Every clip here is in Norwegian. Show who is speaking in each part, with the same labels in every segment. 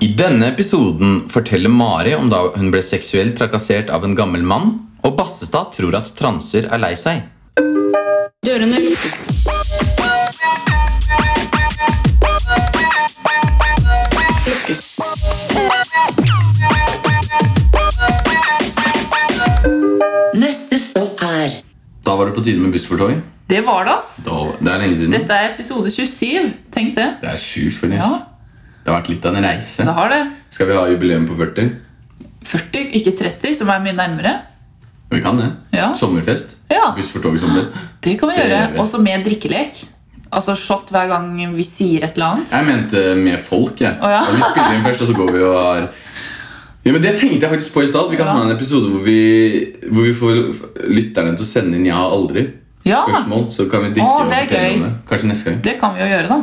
Speaker 1: I denne episoden forteller Mari om da hun ble seksuelt trakassert av en gammel mann, og Bassestad tror at transer er lei seg.
Speaker 2: Dørene lukkes. Lukkes. Neste stopp er
Speaker 1: Da var det på tide med buss for tog.
Speaker 3: Det var det, ass.
Speaker 1: Da, det er lenge siden.
Speaker 3: Dette er episode 27. Tenk det.
Speaker 1: Det er sjukt, faktisk.
Speaker 3: Ja.
Speaker 1: Det har vært litt av en reise.
Speaker 3: Det har det.
Speaker 1: Skal vi ha jubileum på 40?
Speaker 3: 40, ikke 30, som er mye nærmere.
Speaker 1: Vi kan det.
Speaker 3: Ja. Ah.
Speaker 1: Sommerfest.
Speaker 3: Ja.
Speaker 1: Buss for tog sommerfest.
Speaker 3: Det kan vi
Speaker 1: Det
Speaker 3: gjøre.
Speaker 1: gjør vi.
Speaker 3: Også med drikkelek. Altså shot hver gang vi sier et eller annet.
Speaker 1: Jeg mente med folk, jeg.
Speaker 3: Å, ja.
Speaker 1: At Vi spiller inn først, og så går vi og har ja, men Det tenkte jeg faktisk på i stad. Vi kan
Speaker 3: Ja.
Speaker 1: ha en episode hvor vi, hvor vi får lytterne til å sende inn 'jeg har
Speaker 3: Ja.
Speaker 1: aldri'-spørsmål. Så kan vi drikke
Speaker 3: Å,
Speaker 1: og
Speaker 3: det er
Speaker 1: fortelle
Speaker 3: gøy.
Speaker 1: om det. Kanskje neste gang.
Speaker 3: Det kan vi jo gjøre, da.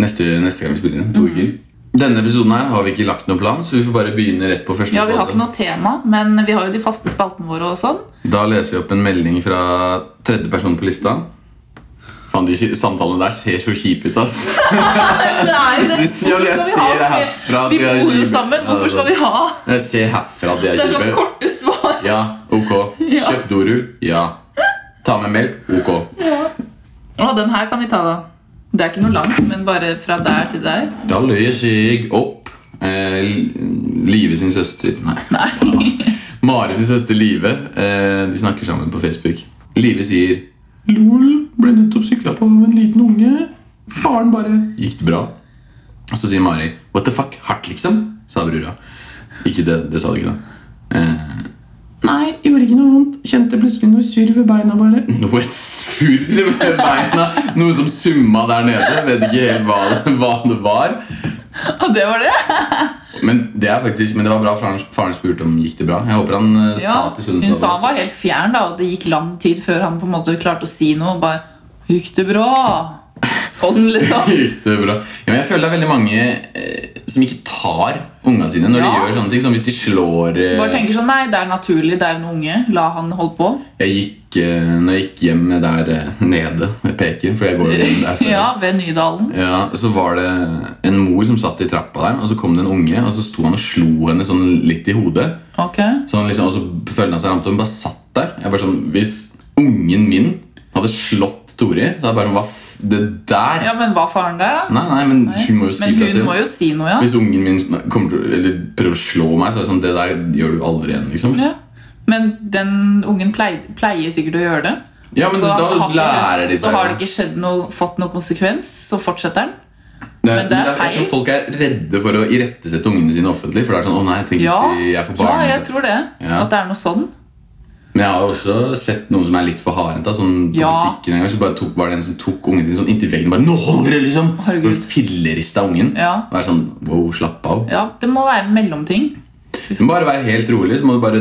Speaker 1: Neste, neste gang vi spiller inn.
Speaker 3: Mhm.
Speaker 1: To uker. Denne episoden her har vi ikke lagt noen plan, så vi får bare begynne rett på første
Speaker 3: Ja, Vi har
Speaker 1: spalte.
Speaker 3: ikke noe tema, men vi har jo de faste spaltene våre og sånn.
Speaker 1: Da leser vi opp en melding fra tredje person på lista. Faen, de ki- samtalene der ser så kjipe ut, ass.
Speaker 3: Det er jo det.
Speaker 1: Du sier jo det, jeg
Speaker 3: Hvorfor skal
Speaker 1: ser det herfra at
Speaker 3: vi ha så mye- Vi
Speaker 1: vi er
Speaker 3: bor jo
Speaker 1: kjipe. Ja,
Speaker 3: sammen.
Speaker 1: det er
Speaker 3: Hvorfor skal vi
Speaker 1: sant.
Speaker 3: ha
Speaker 1: Jeg ser herfra at de er
Speaker 3: Det er sånn
Speaker 1: kjipe.
Speaker 3: korte svar.
Speaker 1: Ja, ok.
Speaker 3: Ja.
Speaker 1: Kjøp dorull. Ja. Ta med melk. Ok.
Speaker 3: Å, den her kan vi ta, da. Det er ikke noe langt, men bare fra der til der.
Speaker 1: Da løser jeg opp eh, Live sin søster Nei. Mari sin søster Live. Eh, de snakker sammen på Facebook. Live sier LOL ble nettopp sykla på av en liten unge. Faren bare Gikk det bra? Og så sier Mari What the fuck? Hardt, liksom? sa brura. Ikke det, det sa du ikke, da. Eh, Nei, gjorde ikke noe vondt. Kjente plutselig noe surr ved beina bare. Noe surr ved beina? Noe som summa der nede. Vet ikke helt hva det, hva det var.
Speaker 3: Og det var det.
Speaker 1: Men det er faktisk, men det var bra faren, faren spurte om gikk det bra. Jeg håper han eh,
Speaker 3: Ja,
Speaker 1: sa til sønnen
Speaker 3: hun sa han var helt fjern, da, og det gikk lang tid før han på en måte klarte å si noe. og Bare 'Gikk det bra?' Sånn, liksom.
Speaker 1: Gikk det bra? Ja, men jeg føler det er veldig mange eh, som ikke tar unga sine når de
Speaker 3: Ja.
Speaker 1: gjør sånne ting. Som hvis de slår eh,
Speaker 3: Bare tenker sånn 'Nei, det er naturlig. Det er en unge. La han holde på'.
Speaker 1: Jeg gikk, eh, når jeg gikk hjem der eh, nede Jeg peker, for jeg går jo hjem derfra.
Speaker 3: Ja, ved Nydalen.
Speaker 1: Ja, så var det en mor som satt i trappa der, og så kom det en unge, og så sto han og slo henne sånn litt i hodet.
Speaker 3: Ok.
Speaker 1: Sånn liksom, og så følte han seg ramt, og hun bare satt der. Jeg bare sånn, Hvis ungen min hadde slått Tori, så hadde jeg bare sånn, hva f... Det der?
Speaker 3: Ja, men var faren der, da?
Speaker 1: Nei, nei, men hun må jo si
Speaker 3: Men
Speaker 1: fra
Speaker 3: hun
Speaker 1: seg.
Speaker 3: må jo si noe, ja.
Speaker 1: Hvis ungen min kommer til, å- eller prøver å slå meg, så er det sånn, det der gjør du aldri igjen, liksom.
Speaker 3: ja. Men den ungen pleier, pleier sikkert å gjøre det.
Speaker 1: Ja, men
Speaker 3: Så
Speaker 1: da
Speaker 3: har ikke-
Speaker 1: lærer de
Speaker 3: Så
Speaker 1: seg
Speaker 3: har det
Speaker 1: det.
Speaker 3: ikke skjedd noe, fått noe konsekvens, så fortsetter den.
Speaker 1: Nei,
Speaker 3: men det er
Speaker 1: jeg tror
Speaker 3: feil.
Speaker 1: Folk er redde for å irettesette ungene sine offentlig. For det er sånn, å nei, tenk hvis
Speaker 3: Ja,
Speaker 1: de er for
Speaker 3: ja
Speaker 1: barn. liksom.
Speaker 3: jeg tror det.
Speaker 1: Ja.
Speaker 3: At det er noe sånn.
Speaker 1: Men jeg har jo også sett noen som er litt for hardhendta. Sånn på
Speaker 3: Ja.
Speaker 1: butikken en gang så bare tok, var det en som tok ungen sin sånn inntil veggen. Bare, nå holder det liksom
Speaker 3: Herregud.
Speaker 1: Og Fillerista ungen.
Speaker 3: Ja.
Speaker 1: Og det er sånn, wow, slapp av.
Speaker 3: Ja, Det må være en mellomting.
Speaker 1: Men bare vær helt rolig. så må du bare,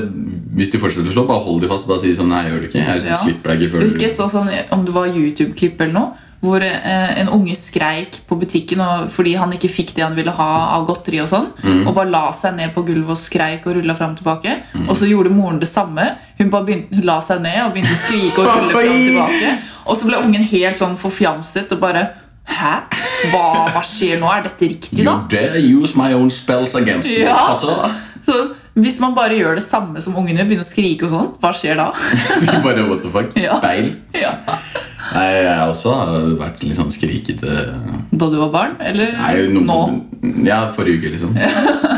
Speaker 1: Hvis de fortsetter å slå, bare hold de fast. og Bare si sånn, nei, jeg gjør det ikke. Jeg
Speaker 3: Ja.
Speaker 1: slipper deg ikke før
Speaker 3: Husker jeg så sånn, om det var YouTube-klipp eller noe, hvor eh, en unge skreik på butikken og, fordi han ikke fikk det han ville ha av godteri og sånn,
Speaker 1: Mm.
Speaker 3: og bare la seg ned på gulvet og skreik og rulla fram og tilbake.
Speaker 1: Mm.
Speaker 3: Og så gjorde moren det samme. Hun bare begynte, hun la seg ned og begynte å skrike og rulle fram og tilbake. Og så ble ungen helt sånn forfjamset og bare Hæ? Hva, hva skjer nå? Er dette riktig,
Speaker 1: You
Speaker 3: da?
Speaker 1: dare use my own spells against me.
Speaker 3: Ja.
Speaker 1: altså.
Speaker 3: Så hvis man bare gjør det samme som ungene, begynner å skrike og sånn, hva skjer da?
Speaker 1: Så bare what the fuck?
Speaker 3: Ja.
Speaker 1: Speil.
Speaker 3: ja.
Speaker 1: Nei, jeg har også vært litt sånn skrikete.
Speaker 3: Da du var barn? Eller
Speaker 1: Nei, noen
Speaker 3: nå?
Speaker 1: Ja, forrige uke, liksom.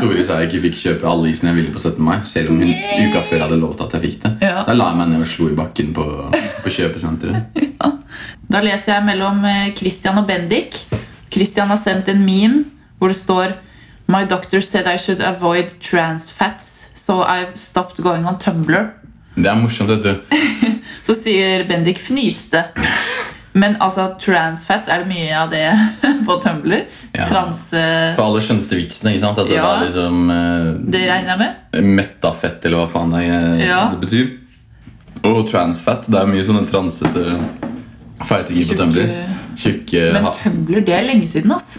Speaker 1: Tore sa jeg ikke fikk kjøpe alle isene jeg ville på 17. mai, selv om hun uka før hadde lovt at jeg fikk det.
Speaker 3: Ja.
Speaker 1: Da la jeg meg ned og slo i bakken på, på kjøpesenteret.
Speaker 3: Da leser jeg mellom eh, Christian og Bendik. Christian har sendt en meme hvor det står My doctor said I should avoid trans fats, so I've stopped going on Tumblr.
Speaker 1: Det er morsomt, vet du.
Speaker 3: Så sier Bendik fnyste. Men altså, trans fats, er det mye av det på Tumblr?
Speaker 1: Ja.
Speaker 3: Transe...
Speaker 1: For alle skjønte vitsen, ikke sant? At det
Speaker 3: Ja.
Speaker 1: var liksom
Speaker 3: Det regner jeg med?
Speaker 1: eh, metta fett, eller hva faen det, eh,
Speaker 3: Ja.
Speaker 1: det betyr. Og transfett. Det er mye sånne transete feitinger på
Speaker 3: Tjukke-
Speaker 1: Tumblr. Tjukke
Speaker 3: Men
Speaker 1: ha-
Speaker 3: Tumblr, det er lenge siden, ass.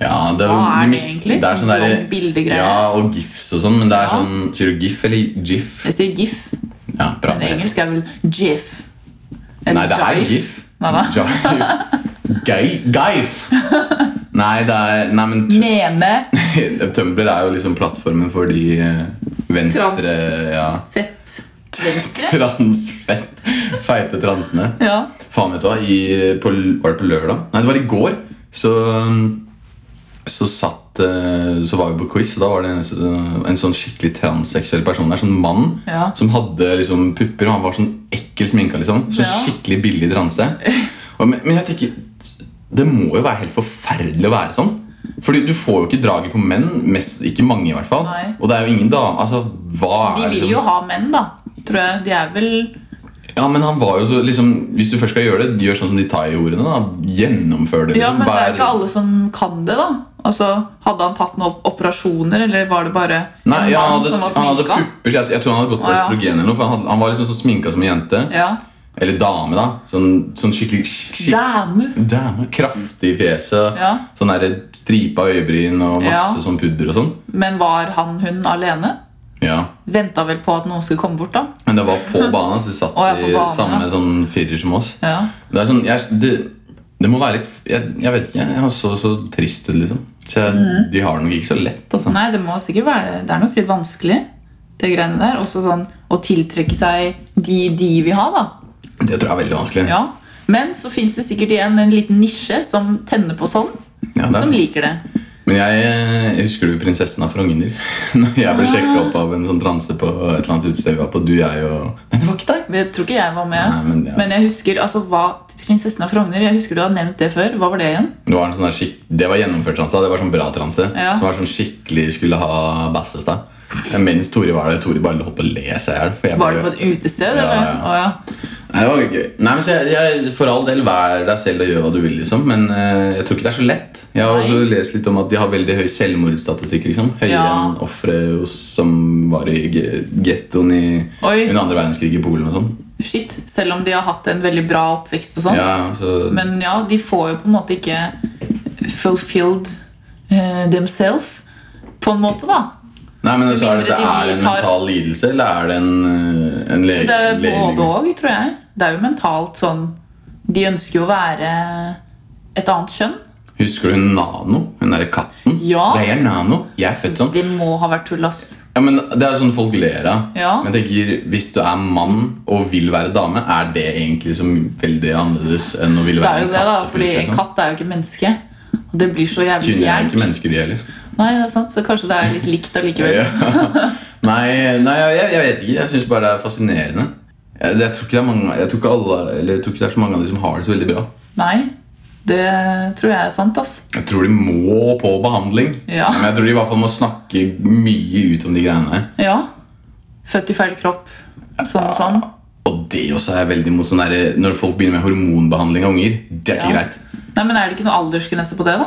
Speaker 1: Ja, det er,
Speaker 3: Hva er
Speaker 1: du
Speaker 3: det
Speaker 1: mis-
Speaker 3: egentlig?
Speaker 1: Det er sånn
Speaker 3: Sånn
Speaker 1: derre-
Speaker 3: langt bildegreie?
Speaker 1: Ja, og gifs og sånn, men det er
Speaker 3: Ja.
Speaker 1: sånn Sier du gif eller gif?
Speaker 3: Jeg sier gif,
Speaker 1: Ja, bra.
Speaker 3: men engelsk er vel gif.
Speaker 1: Nei, det er gif.
Speaker 3: Nei da.
Speaker 1: Jive. Gei- Geif. Nei, det er, nei men tu-
Speaker 3: Meme.
Speaker 1: Tumblr er jo liksom plattformen for de eh, venstre ja,
Speaker 3: Transfett. Venstre?
Speaker 1: Transfett. Feite transene.
Speaker 3: Ja.
Speaker 1: Faen, vet du hva. I, på, var det på lørdag? Nei, det var i går. Så, så satt eh, Så var vi på quiz, og da var det en, så- en sånn skikkelig transseksuell person der. Sånn mann
Speaker 3: Ja.
Speaker 1: som hadde liksom pupper, og han var sånn ekkel sminka, liksom. Så
Speaker 3: Ja.
Speaker 1: skikkelig billig transe. Og, men, men jeg tenker Det må jo være helt forferdelig å være sånn. Fordi Du får jo ikke draget på menn. Mest, ikke mange, i hvert fall.
Speaker 3: Nei.
Speaker 1: Og det er jo ingen dame altså, hva
Speaker 3: De
Speaker 1: er
Speaker 3: vil
Speaker 1: liksom-
Speaker 3: jo ha menn, da. Tror jeg. De er vel
Speaker 1: ja, men han var jo så liksom, Hvis du først skal gjøre det, gjør sånn som de thai gjorde. Da. Gjennomfør det.
Speaker 3: Ja,
Speaker 1: liksom.
Speaker 3: men det er
Speaker 1: Vær-
Speaker 3: jo ikke alle som kan det, da. Altså, Hadde han tatt noen operasjoner, eller var det bare en
Speaker 1: Nei, ja, han,
Speaker 3: mann
Speaker 1: hadde,
Speaker 3: som var
Speaker 1: han hadde
Speaker 3: sminka?
Speaker 1: pupper, så jeg, jeg tror han hadde gått på
Speaker 3: Å, ja.
Speaker 1: østrogen. eller noe For han, hadde, han var liksom så sminka som en jente.
Speaker 3: Ja.
Speaker 1: Eller dame, da. Sånn, sånn skikkelig skik-
Speaker 3: Dæmu!
Speaker 1: Dame, Kraftig i fjeset.
Speaker 3: Ja.
Speaker 1: Sånn der stripa øyebryn og masse
Speaker 3: Ja.
Speaker 1: sånn pudder og sånn.
Speaker 3: Men var han hun alene?
Speaker 1: Ja.
Speaker 3: Venta vel på at noen skulle komme bort, da.
Speaker 1: Men det var på banen, så de satt
Speaker 3: Å, ja, på
Speaker 1: i
Speaker 3: banen,
Speaker 1: samme
Speaker 3: ja.
Speaker 1: sånn firer som oss.
Speaker 3: Ja.
Speaker 1: Det er sånn, jeg, det, det må være litt Jeg, jeg vet ikke. Jeg er så, så trist ut, liksom. Så jeg,
Speaker 3: Mm.
Speaker 1: De har det nok ikke så lett, altså.
Speaker 3: Nei, det må sikkert være Det er nok litt vanskelig, det greiene der. Også sånn å tiltrekke seg de de vil ha, da.
Speaker 1: Det tror jeg er veldig vanskelig.
Speaker 3: Ja. Men så fins det sikkert igjen en liten nisje som tenner på sånn,
Speaker 1: Ja, det er
Speaker 3: som
Speaker 1: sant.
Speaker 3: liker det.
Speaker 1: Men jeg, jeg husker du prinsessen av Frogner? Når jeg ble sjekka opp av en sånn transe på et eller annet utested vi var på. Du, jeg og Nei, det var ikke deg!
Speaker 3: Men Jeg tror ikke jeg var med.
Speaker 1: Nei, men ja.
Speaker 3: jeg husker altså, hva Prinsessen av Frogner, jeg husker du har nevnt det før. Hva var det igjen?
Speaker 1: Det var, en sånn der skikk, det var gjennomført transe. Det var sånn bra transe.
Speaker 3: Ja.
Speaker 1: Som var sånn skikkelig skulle ha bassestad. Men Mens Tore var der. Tore bare holdt på å le seg i hjel. for jeg
Speaker 3: Var
Speaker 1: ble-
Speaker 3: det på et utested?
Speaker 1: Ja,
Speaker 3: eller?
Speaker 1: ja.
Speaker 3: Å, ja.
Speaker 1: Nei, det var gøy. Nei, men så jeg, jeg, For all del, vær deg selv og gjør hva du vil, liksom. Men eh, jeg tror ikke det er så lett. Jeg har
Speaker 3: Nei.
Speaker 1: også lest litt om at de har veldig høy selvmordsstatistikk. liksom Høyere
Speaker 3: Ja.
Speaker 1: enn ofre hos- som var i gettoen i
Speaker 3: Oi.
Speaker 1: under andre verdenskrig i Polen og sånn.
Speaker 3: Shit, Selv om de har hatt en veldig bra oppvekst og sånn.
Speaker 1: Ja, så
Speaker 3: Men ja, de får jo på en måte ikke fulfilled eh, themselves, på en måte, da.
Speaker 1: Nei, men så er det,
Speaker 3: mindre
Speaker 1: det er
Speaker 3: de
Speaker 1: det en
Speaker 3: tar-
Speaker 1: mental lidelse, eller er det en, eh, en lege?
Speaker 3: Det er
Speaker 1: lege-
Speaker 3: både òg, tror jeg. Det er jo mentalt sånn De ønsker jo å være et annet kjønn.
Speaker 1: Husker du hun Nano? Hun derre katten?
Speaker 3: Ja.
Speaker 1: Det er Nano. Jeg er født sånn.
Speaker 3: De må ha vært tull, ass.
Speaker 1: Ja, men Det er sånn folk ler av.
Speaker 3: Ja.
Speaker 1: Men jeg tenker, hvis du er mann og vil være dame, er det egentlig som veldig annerledes enn å ville
Speaker 3: Det er
Speaker 1: være en
Speaker 3: jo det,
Speaker 1: katt?
Speaker 3: da.
Speaker 1: plutselig,
Speaker 3: Fordi en
Speaker 1: liksom?
Speaker 3: katt er jo ikke menneske. Og det blir så jævlig
Speaker 1: Kvinner er ikke
Speaker 3: fjernt.
Speaker 1: mennesker, de heller.
Speaker 3: Nei, det er sant, Så kanskje det er litt likt allikevel.
Speaker 1: Ja. nei, nei, jeg, jeg vet ikke. Jeg syns bare det er fascinerende. Jeg, jeg, tror ikke det er mange, jeg, tror ikke alle, eller jeg tror ikke det er så mange av de som har det så veldig bra.
Speaker 3: Nei, det tror jeg er sant, ass.
Speaker 1: Jeg tror de må på behandling.
Speaker 3: Ja.
Speaker 1: Men jeg tror de i hvert fall må snakke mye ut om de greiene der.
Speaker 3: Ja. Født i feil kropp. Sånn og sånn.
Speaker 1: Og det også er jeg veldig imot. Sånn der, når folk begynner med hormonbehandling av unger, det er ikke
Speaker 3: Ja.
Speaker 1: greit.
Speaker 3: Nei, men Er det ikke noe aldersgrense på det? da?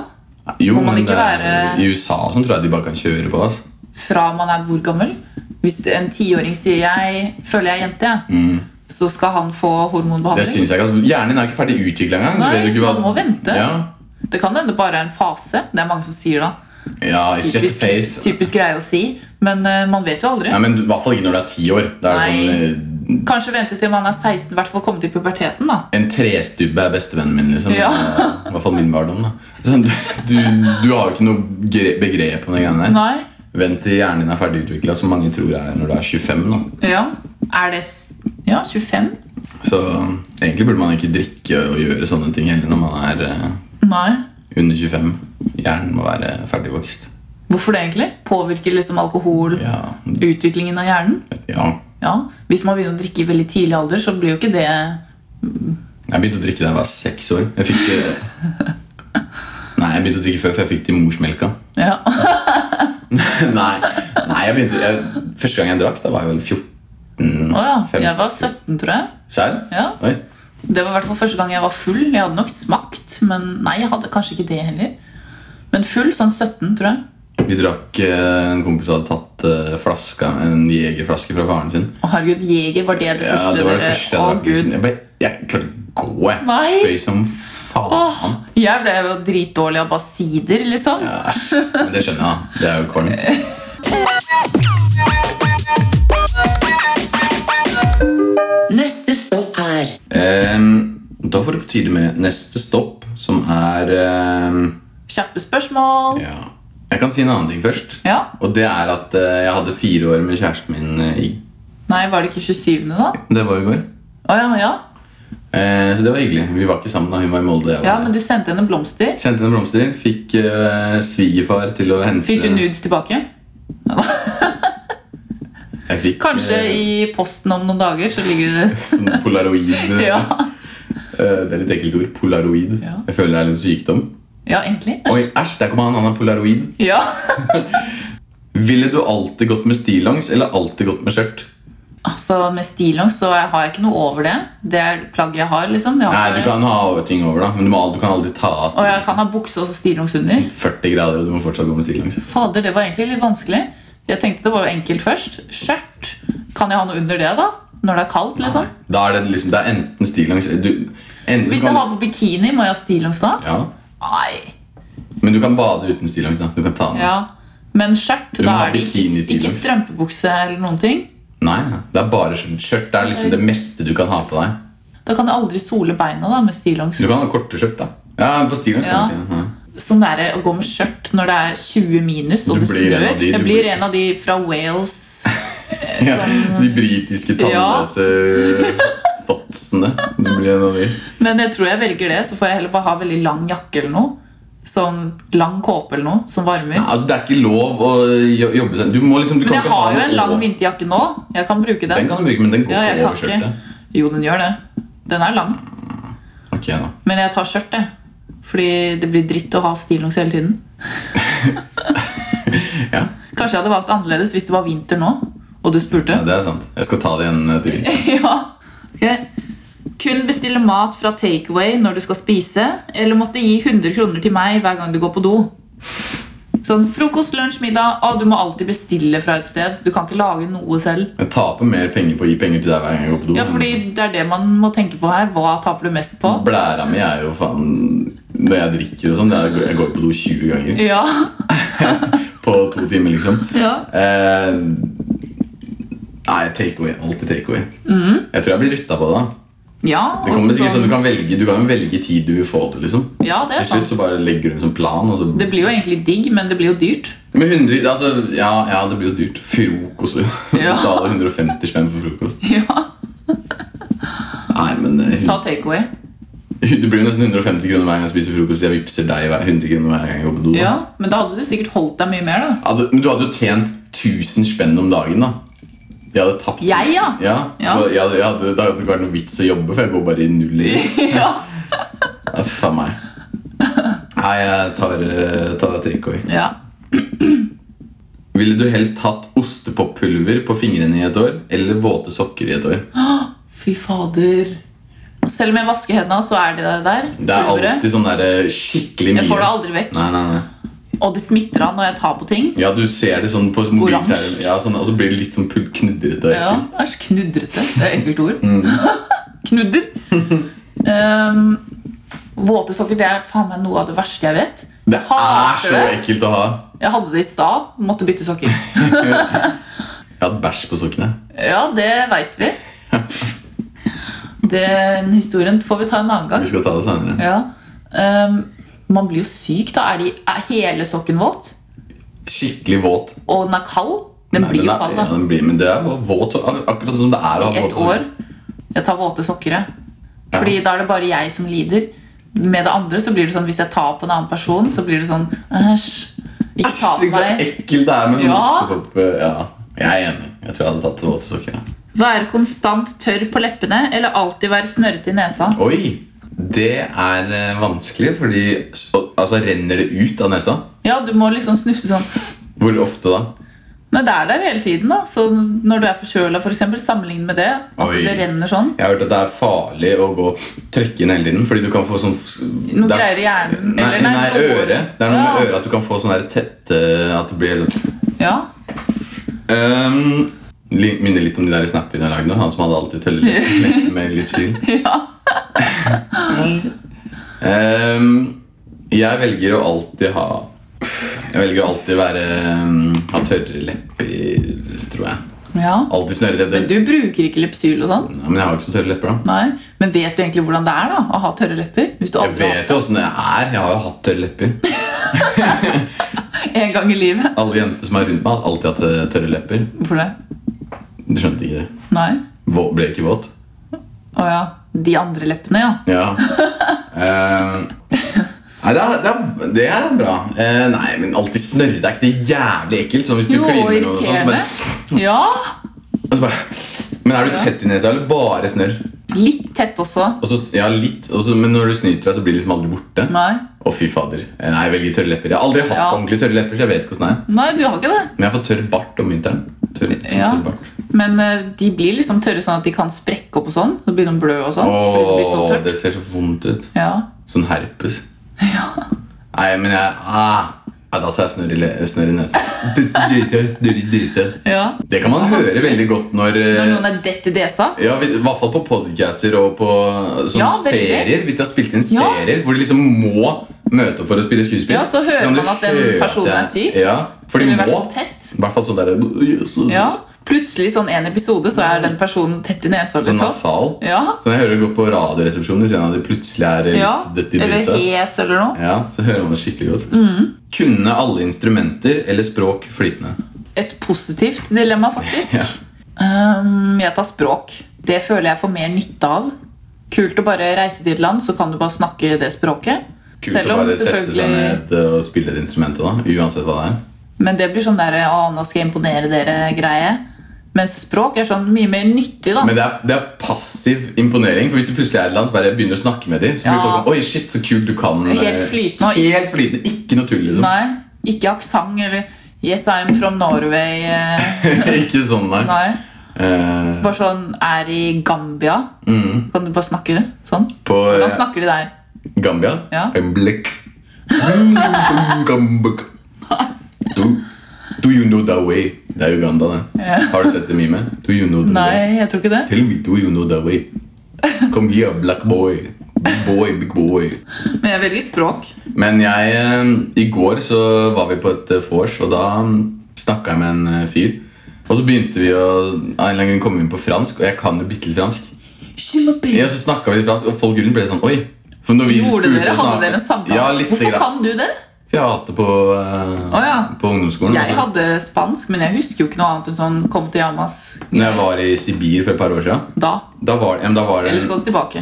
Speaker 1: Jo,
Speaker 3: Må man
Speaker 1: men
Speaker 3: ikke
Speaker 1: det er-
Speaker 3: være-
Speaker 1: I USA og sånn tror jeg de bare kan kjøre på. Altså.
Speaker 3: Fra man er hvor gammel? Hvis det- en tiåring sier jeg føler jeg er jente, jeg, så skal han få
Speaker 1: Mm. Det
Speaker 3: hormonbehandling?
Speaker 1: synes jeg ikke. Altså, Hjernen din er ikke ferdig utvikla engang. Du
Speaker 3: Nei,
Speaker 1: vet jo ikke
Speaker 3: man må vente.
Speaker 1: Ja,
Speaker 3: Det kan hende det bare er en fase. Det er mange som sier da.
Speaker 1: ja it's just a face.
Speaker 3: typisk greie å si, men eh, man vet jo aldri.
Speaker 1: Nei, men I hvert fall ikke når du er ti år. Da er det
Speaker 3: Nei.
Speaker 1: sånn,
Speaker 3: Kanskje vente til man er 16, i hvert fall kommet i puberteten. da.
Speaker 1: eh, en trestubbe er bestevennen min. liksom
Speaker 3: Ja.
Speaker 1: I hvert fall min barndom. da sånn, du, du, du har jo ikke noe gre- begrep om de greiene der.
Speaker 3: Nei,
Speaker 1: Vent til hjernen din er ferdig utvikla, som mange tror er når du er 25. da
Speaker 3: ja. Er det s- ja, 25?
Speaker 1: Så egentlig burde man ikke drikke og gjøre sånne ting heller når man er eh,
Speaker 3: Nei.
Speaker 1: under 25. Hjernen må være ferdigvokst.
Speaker 3: Hvorfor det egentlig? Påvirker liksom alkohol
Speaker 1: Ja,
Speaker 3: utviklingen av hjernen?
Speaker 1: ja.
Speaker 3: Ja, Hvis man begynner å drikke i veldig tidlig alder, så blir jo ikke det
Speaker 1: Jeg begynte å drikke da jeg var seks år. Jeg fikk eh, Nei, jeg begynte å drikke før, for jeg fikk det i morsmelka.
Speaker 3: ja.
Speaker 1: Nei, nei jeg begynte jeg, Første gang jeg drakk, da var jeg vel 14.
Speaker 3: Å ja,
Speaker 1: Fem-
Speaker 3: jeg var 17, tror jeg.
Speaker 1: Serr?
Speaker 3: Ja.
Speaker 1: Oi.
Speaker 3: Det var i hvert fall første gang jeg var full. Jeg hadde nok smakt, men nei, jeg hadde kanskje ikke det heller. Men full, sånn 17, tror jeg.
Speaker 1: Vi drakk eh, En kompis hadde tatt eh, flaska, en jegerflaske fra faren sin.
Speaker 3: Å herregud, Jeger, var det det
Speaker 1: Ja,
Speaker 3: første
Speaker 1: det var det
Speaker 3: dere-
Speaker 1: første jeg
Speaker 3: Å
Speaker 1: drakk. liksom.
Speaker 3: gud.
Speaker 1: Jeg, ble, jeg klarte ikke å gå, jeg.
Speaker 3: Nei.
Speaker 1: Spøy som faen.
Speaker 3: Åh, jeg ble jo dritdårlig av bare sider, liksom.
Speaker 1: Ja, Æsj. Men det skjønner jeg. da. Det er jo kvalmt.
Speaker 2: Neste stopp er
Speaker 1: Ehm, da får det på tide med neste stopp, som er ehm,
Speaker 3: Kjappe spørsmål.
Speaker 1: Ja. Jeg kan si en annen ting først.
Speaker 3: Ja.
Speaker 1: Og det er at eh, jeg hadde fire år med kjæresten min eh, i
Speaker 3: Nei, var det ikke 27. da?
Speaker 1: Det var i går.
Speaker 3: Å ja, ja.
Speaker 1: Eh, så det var hyggelig. Vi var ikke sammen da hun var i Molde. Jeg var
Speaker 3: ja,
Speaker 1: der.
Speaker 3: men du sendte henne blomster.
Speaker 1: Sendte henne blomster. Fikk eh, svigerfar til å hente
Speaker 3: Fikk du nudes tilbake?
Speaker 1: Jeg fikk,
Speaker 3: Kanskje
Speaker 1: eh,
Speaker 3: i posten om noen dager, så ligger det
Speaker 1: Sånn polaroid.
Speaker 3: Ja,
Speaker 1: Eh, det er litt ekkelt ord. Polaroid.
Speaker 3: Ja.
Speaker 1: Jeg føler det er litt sykdom.
Speaker 3: ja egentlig.
Speaker 1: Oi, æsj, der kom han. Han har polaroid.
Speaker 3: Ja.
Speaker 1: Ville du alltid gått med stillongs eller alltid gått med skjørt?
Speaker 3: Altså, Med stillongs så har jeg ikke noe over det. Det er plagget jeg har. liksom. Jeg
Speaker 1: Nei,
Speaker 3: har
Speaker 1: du
Speaker 3: ikke-
Speaker 1: kan ha ting over, da, men du, må, al- du kan aldri ta av
Speaker 3: Og jeg
Speaker 1: stillongs.
Speaker 3: kan ha bukse og så stillongs under.
Speaker 1: 40 grader, og du må fortsatt gå med stillongs.
Speaker 3: Fader, det var egentlig litt vanskelig. Jeg tenkte det var enkelt først. Skjørt. Kan jeg ha noe under det, da? Når det er kaldt, liksom?
Speaker 1: Da er det liksom, det er enten stillongs du, enten
Speaker 3: Hvis
Speaker 1: så
Speaker 3: jeg
Speaker 1: kan,
Speaker 3: har på bikini, må jeg ha stillongs da?
Speaker 1: ja,
Speaker 3: Nei.
Speaker 1: Men du kan bade uten stillongs. da, Du kan ta den.
Speaker 3: Ja. Men skjørt,
Speaker 1: må
Speaker 3: da
Speaker 1: ha
Speaker 3: er det ikke,
Speaker 1: bikinistillongs.
Speaker 3: ikke strømpebukse eller noen ting.
Speaker 1: Nei, det er bare skjørt. Skjørt er liksom det meste du kan ha på deg.
Speaker 3: Da kan jeg aldri sole beina da, med stillongs.
Speaker 1: Du kan ha korte skjørt, da. Ja, på stillongs
Speaker 3: Ja.
Speaker 1: kan du ikke. ja.
Speaker 3: Sånn der, Å gå med skjørt når det er 20 minus og
Speaker 1: Du
Speaker 3: det
Speaker 1: blir en
Speaker 3: snør
Speaker 1: av de-
Speaker 3: Jeg
Speaker 1: du
Speaker 3: blir
Speaker 1: blir-
Speaker 3: en av de fra Wales.
Speaker 1: Ja, de britiske tannløse fotsene. Du blir en av de.
Speaker 3: Men jeg tror jeg velger det, så får jeg heller bare ha veldig lang jakke eller noe. Sånn lang kåpe eller noe som varmer.
Speaker 1: Ja, Altså, det er ikke lov å jo- jobbe sånn. Du må liksom, du
Speaker 3: Men
Speaker 1: kan
Speaker 3: jeg
Speaker 1: ikke ha
Speaker 3: har jo
Speaker 1: noe
Speaker 3: en lang
Speaker 1: over-
Speaker 3: vinterjakke nå. Jeg kan bruke den.
Speaker 1: Den kan du bruke, men den går
Speaker 3: ja, jeg
Speaker 1: ikke
Speaker 3: kan
Speaker 1: over skjørtet.
Speaker 3: ikke. Jo, den gjør det. Den er lang.
Speaker 1: Ok, da.
Speaker 3: Men jeg tar skjørt, jeg. Fordi det blir dritt å ha stillongs hele tiden.
Speaker 1: Ja.
Speaker 3: Kanskje jeg hadde valgt annerledes hvis det var vinter nå, og du spurte.
Speaker 1: Ja, det er sant. Jeg skal ta det igjen eh, til vinteren.
Speaker 3: ja. Ok. Kun bestille mat fra takeaway når du skal spise, eller måtte gi 100 kroner til meg hver gang du går på do. Sånn frokost, lunsj, middag. Å, du må alltid bestille fra et sted. Du kan ikke lage noe selv.
Speaker 1: Jeg taper mer penger på å gi penger til deg hver gang jeg går på do.
Speaker 3: Ja, fordi det er det man må tenke på her. Hva taper du mest på?
Speaker 1: Blæra mi er jo faen Når jeg drikker og sånn, det er- jeg går på do 20 ganger
Speaker 3: Ja.
Speaker 1: på to timer, liksom.
Speaker 3: ja.
Speaker 1: Eh, nei, takeaway. Alltid takeaway.
Speaker 3: Mhm.
Speaker 1: Jeg tror jeg blir rytta på det. da
Speaker 3: ja
Speaker 1: Det kommer sikkert sånn, Du kan velge Du kan jo velge tid du vil få det. liksom
Speaker 3: Ja, det er
Speaker 1: Til slutt så
Speaker 3: sant.
Speaker 1: bare legger du en sånn plan. Og så
Speaker 3: Det blir jo egentlig digg, men det blir jo dyrt.
Speaker 1: Med 100, altså, ja, ja, det blir jo dyrt. Frokost. liksom.
Speaker 3: Ja.
Speaker 1: Betaler 150 spenn for frokost.
Speaker 3: Ja.
Speaker 1: Nei, men eh,
Speaker 3: Ta takeaway.
Speaker 1: Det blir jo nesten 150 kroner hver gang jeg spiser frokost. Jeg vippser deg hver- 100 kroner hver gang jeg går på do. da.
Speaker 3: Ja, men da hadde du sikkert holdt deg mye mer, da.
Speaker 1: Ja, du- men du hadde jo tjent 1000 spenn om dagen, da. Jeg hadde tapt.
Speaker 3: Jeg, ja.
Speaker 1: Ja,
Speaker 3: Ja.
Speaker 1: Da, jeg hadde, jeg hadde, da hadde det ikke vært noe vits å jobbe, for jeg går bare i null. i.
Speaker 3: ja.
Speaker 1: Ja, faen meg. Nei, jeg tar, eh, tar takeaway.
Speaker 3: ja.
Speaker 1: Ville du helst hatt ostepoppulver på fingrene i et år eller våte sokker i et år?
Speaker 3: Fy fader. Selv om jeg vasker hendene, så er det det der.
Speaker 1: Det er
Speaker 3: pulveret.
Speaker 1: alltid sånn der eh, skikkelig mye.
Speaker 3: Jeg får det aldri vekk.
Speaker 1: Nei, nei, nei.
Speaker 3: Og det smitter av når jeg tar på ting.
Speaker 1: Ja, du ser det sånn på mobilskjermen,
Speaker 3: Oransje.
Speaker 1: ja, sånn, og så blir det litt sånn pul- knudrete. og
Speaker 3: Ja,
Speaker 1: ekkelt.
Speaker 3: det er så knudrete. Det er et ekkelt ord.
Speaker 1: Mm.
Speaker 3: Knudder. Ehm, våte sokker det er faen meg noe av det verste jeg vet.
Speaker 1: Det
Speaker 3: Jeg
Speaker 1: er
Speaker 3: hater
Speaker 1: så ekkelt å ha.
Speaker 3: Jeg hadde det i stad, måtte bytte sokker.
Speaker 1: Jeg har hatt bæsj på sokkene.
Speaker 3: Ja, det veit vi. Den historien får vi ta en annen gang.
Speaker 1: Vi skal ta det senere.
Speaker 3: Ja. Ehm, man blir jo syk, da. Er, de, er hele sokken våt?
Speaker 1: skikkelig våt.
Speaker 3: Og den er kald? Den
Speaker 1: Nei,
Speaker 3: blir jo
Speaker 1: er-
Speaker 3: kald,
Speaker 1: ja,
Speaker 3: da.
Speaker 1: den blir, men det er jo våt, ak- akkurat sånn som det er å ha
Speaker 3: Ett
Speaker 1: våt.
Speaker 3: år. Jeg tar våte sokker, jeg. Fordi da er det bare jeg som lider. Med det andre så blir det sånn hvis jeg tar på en annen person, så blir det sånn Æsj. Ikke ta på
Speaker 1: Tenk så
Speaker 3: meg.
Speaker 1: ekkel det er med sånn
Speaker 3: Ja.
Speaker 1: ostepop. Ja. Jeg er enig. Jeg tror jeg hadde tatt våte sokker. ja.
Speaker 3: Være konstant tørr på leppene eller alltid være snørrete i nesa.
Speaker 1: Oi! Det er eh, vanskelig, fordi så- altså, renner det ut av nesa.
Speaker 3: Ja, du må liksom snufse sånn
Speaker 1: Hvor ofte da?
Speaker 3: Nei, det er der hele tiden. da Så Når du er forkjøla, for eksempel, sammenlign med det. At
Speaker 1: Oi.
Speaker 3: det renner sånn.
Speaker 1: Jeg har hørt at det er farlig å gå trykke inn hele tiden. Fordi du kan få sånn
Speaker 3: Noe
Speaker 1: det er-
Speaker 3: greier i hjernen.
Speaker 1: Nei,
Speaker 3: eller
Speaker 1: nei,
Speaker 3: blod.
Speaker 1: øret. Det er noe med
Speaker 3: Ja.
Speaker 1: øret at du kan få sånn der tette At det blir helt
Speaker 3: Ja.
Speaker 1: Um, li- minner litt om de der snappene jeg lagde nå. Han som hadde alltid tøller litt med litt stil. um, jeg velger å alltid ha ehm, Jeg velger å alltid være um, ha tørre lepper, tror jeg.
Speaker 3: Ja.
Speaker 1: Alltid snørrete.
Speaker 3: Men du bruker ikke Lepsyl og sånn?
Speaker 1: Nei, men jeg har jo ikke så tørre lepper, da.
Speaker 3: Nei, Men vet du egentlig hvordan det er da, å ha tørre lepper? Hvis du
Speaker 1: Jeg
Speaker 3: aldri har
Speaker 1: vet jo åssen det er. Jeg har jo hatt tørre lepper.
Speaker 3: hatt det en gang i livet?
Speaker 1: Alle jenter som er rundt meg, har alltid hatt eh, tørre lepper.
Speaker 3: Hvorfor det?
Speaker 1: Du skjønte ikke det.
Speaker 3: Nei?
Speaker 1: Vå- Ble ikke våt?
Speaker 3: Å ja. De andre leppene, ja.
Speaker 1: Ja. Eh, nei, det er, det er, det er bra. Eh, nei, men alltid snørre. Det er ikke det jævlig ekkelt. Sånn hvis du
Speaker 3: Jo,
Speaker 1: kliner med noe sånn, så
Speaker 3: irriterende.
Speaker 1: bare,
Speaker 3: Ja.
Speaker 1: og så bare Men er du tett i nesa, eller bare snørr?
Speaker 3: Litt tett også.
Speaker 1: Og så- Ja, litt, og så- men når du snyter deg, så blir det liksom aldri borte. Å,
Speaker 3: Nei.
Speaker 1: fy fader. Eh, Nei, veldig tørre lepper. Jeg har aldri hatt
Speaker 3: Ja.
Speaker 1: ordentlig tørre lepper, så jeg vet ikke hvordan det er.
Speaker 3: Nei, du har ikke det.
Speaker 1: Men jeg har fått tørr bart om vinteren. Tørr, sånn
Speaker 3: Ja.
Speaker 1: tørr bart.
Speaker 3: Men eh, de blir liksom tørre sånn at de kan sprekke opp og sånn. Så begynner de å blø og sånn. fordi det blir så
Speaker 1: Åh,
Speaker 3: tørt.
Speaker 1: det ser så vondt ut.
Speaker 3: Ja.
Speaker 1: Sånn herpes. Nei, men jeg ah, ja, Da tar jeg snørr i, le- snørr i nesa. Snørr i nesa.
Speaker 3: ja.
Speaker 1: Det kan man høre veldig godt når, eh,
Speaker 3: Når noen er dett i desa.
Speaker 1: ja, vi- I hvert fall på podcaster og på eh, sånne
Speaker 3: Ja, veldig.
Speaker 1: serier. Hvis de har spilt inn
Speaker 3: Ja.
Speaker 1: serier hvor de liksom må møte opp for å spille skuespill.
Speaker 3: Ja, så hører
Speaker 1: kan du
Speaker 3: man at den
Speaker 1: høre at
Speaker 3: personen
Speaker 1: det
Speaker 3: er syk.
Speaker 1: Ja, for de
Speaker 3: Eller i
Speaker 1: må.
Speaker 3: hvert fall tett.
Speaker 1: I hvert fall sånn der så-
Speaker 3: Ja. Plutselig sånn en episode, så er den personen tett i nesa.
Speaker 1: sånn
Speaker 3: liksom.
Speaker 1: nasal.
Speaker 3: Ja.
Speaker 1: Så når jeg hører det gå på Radioresepsjonen ved siden av at de plutselig er eh,
Speaker 3: ja.
Speaker 1: litt dette i
Speaker 3: Eller
Speaker 1: disse.
Speaker 3: hes eller noe.
Speaker 1: Ja, så hører man det skikkelig godt.
Speaker 3: Mm.
Speaker 1: Kunne alle instrumenter eller språk flytende?
Speaker 3: Et positivt dilemma, faktisk.
Speaker 1: Ja.
Speaker 3: Ehm, jeg tar språk. Det føler jeg får mer nytte av. Kult å bare reise til et land, så kan du bare snakke det språket.
Speaker 1: Kult å bare sette seg ned og spille et instrument òg, uansett hva det er.
Speaker 3: Men det blir sånn der «Å, nå skal jeg imponere dere-greie. Mens språk er sånn mye mer nyttig, da.
Speaker 1: Men det er, det er passiv imponering. For hvis du plutselig er i et land så bare begynner å snakke med dem, så blir
Speaker 3: Ja.
Speaker 1: folk sånn Oi, shit, så kult du kan eh,
Speaker 3: Helt flytende og-
Speaker 1: Helt flytende. Ikke noe tull, liksom.
Speaker 3: Nei, Ikke aksent eller 'Yes, I'm from Norway'. eh,
Speaker 1: ikke sånn, nei.
Speaker 3: Nei.
Speaker 1: Eh,
Speaker 3: Bare sånn 'Er i Gambia'.
Speaker 1: Mm.
Speaker 3: Kan du bare snakke sånn?
Speaker 1: på eh,
Speaker 3: Hvordan snakker de der?
Speaker 1: Gambia
Speaker 3: Ja.
Speaker 1: En blekk. Gambuk. Do, do you know the way? Det er Uganda, det.
Speaker 3: Ja.
Speaker 1: Har du sett det mime? Do you know the way?
Speaker 3: Nei, jeg tror ikke det.
Speaker 1: Tell me, do you know the way? Come here, black boy. Big boy, big boy.
Speaker 3: Men jeg velger språk.
Speaker 1: Men jeg eh, I går så var vi på et eh, vors, og da snakka jeg med en eh, fyr. Og så begynte vi å av en eller annen grunn komme inn på fransk, og jeg kan jo bitte litt fransk. Ja, så snakket vi litt fransk, Og folk rundt ble sånn Oi! For når vi
Speaker 3: Gjorde
Speaker 1: spurte
Speaker 3: dere,
Speaker 1: oss, da-
Speaker 3: hadde dere en samtale?
Speaker 1: Ja, litt
Speaker 3: Hvorfor
Speaker 1: grann.
Speaker 3: kan du det?
Speaker 1: For jeg har hatt det på, eh,
Speaker 3: Å, ja.
Speaker 1: på ungdomsskolen. Altså,
Speaker 3: Jeg
Speaker 1: også.
Speaker 3: hadde spansk, men jeg husker jo ikke noe annet enn sånn 'kom til Yamas'
Speaker 1: Når jeg var i Sibir for et par år siden,
Speaker 3: da.
Speaker 1: da var, ja, men da var det
Speaker 3: Eller skal du tilbake?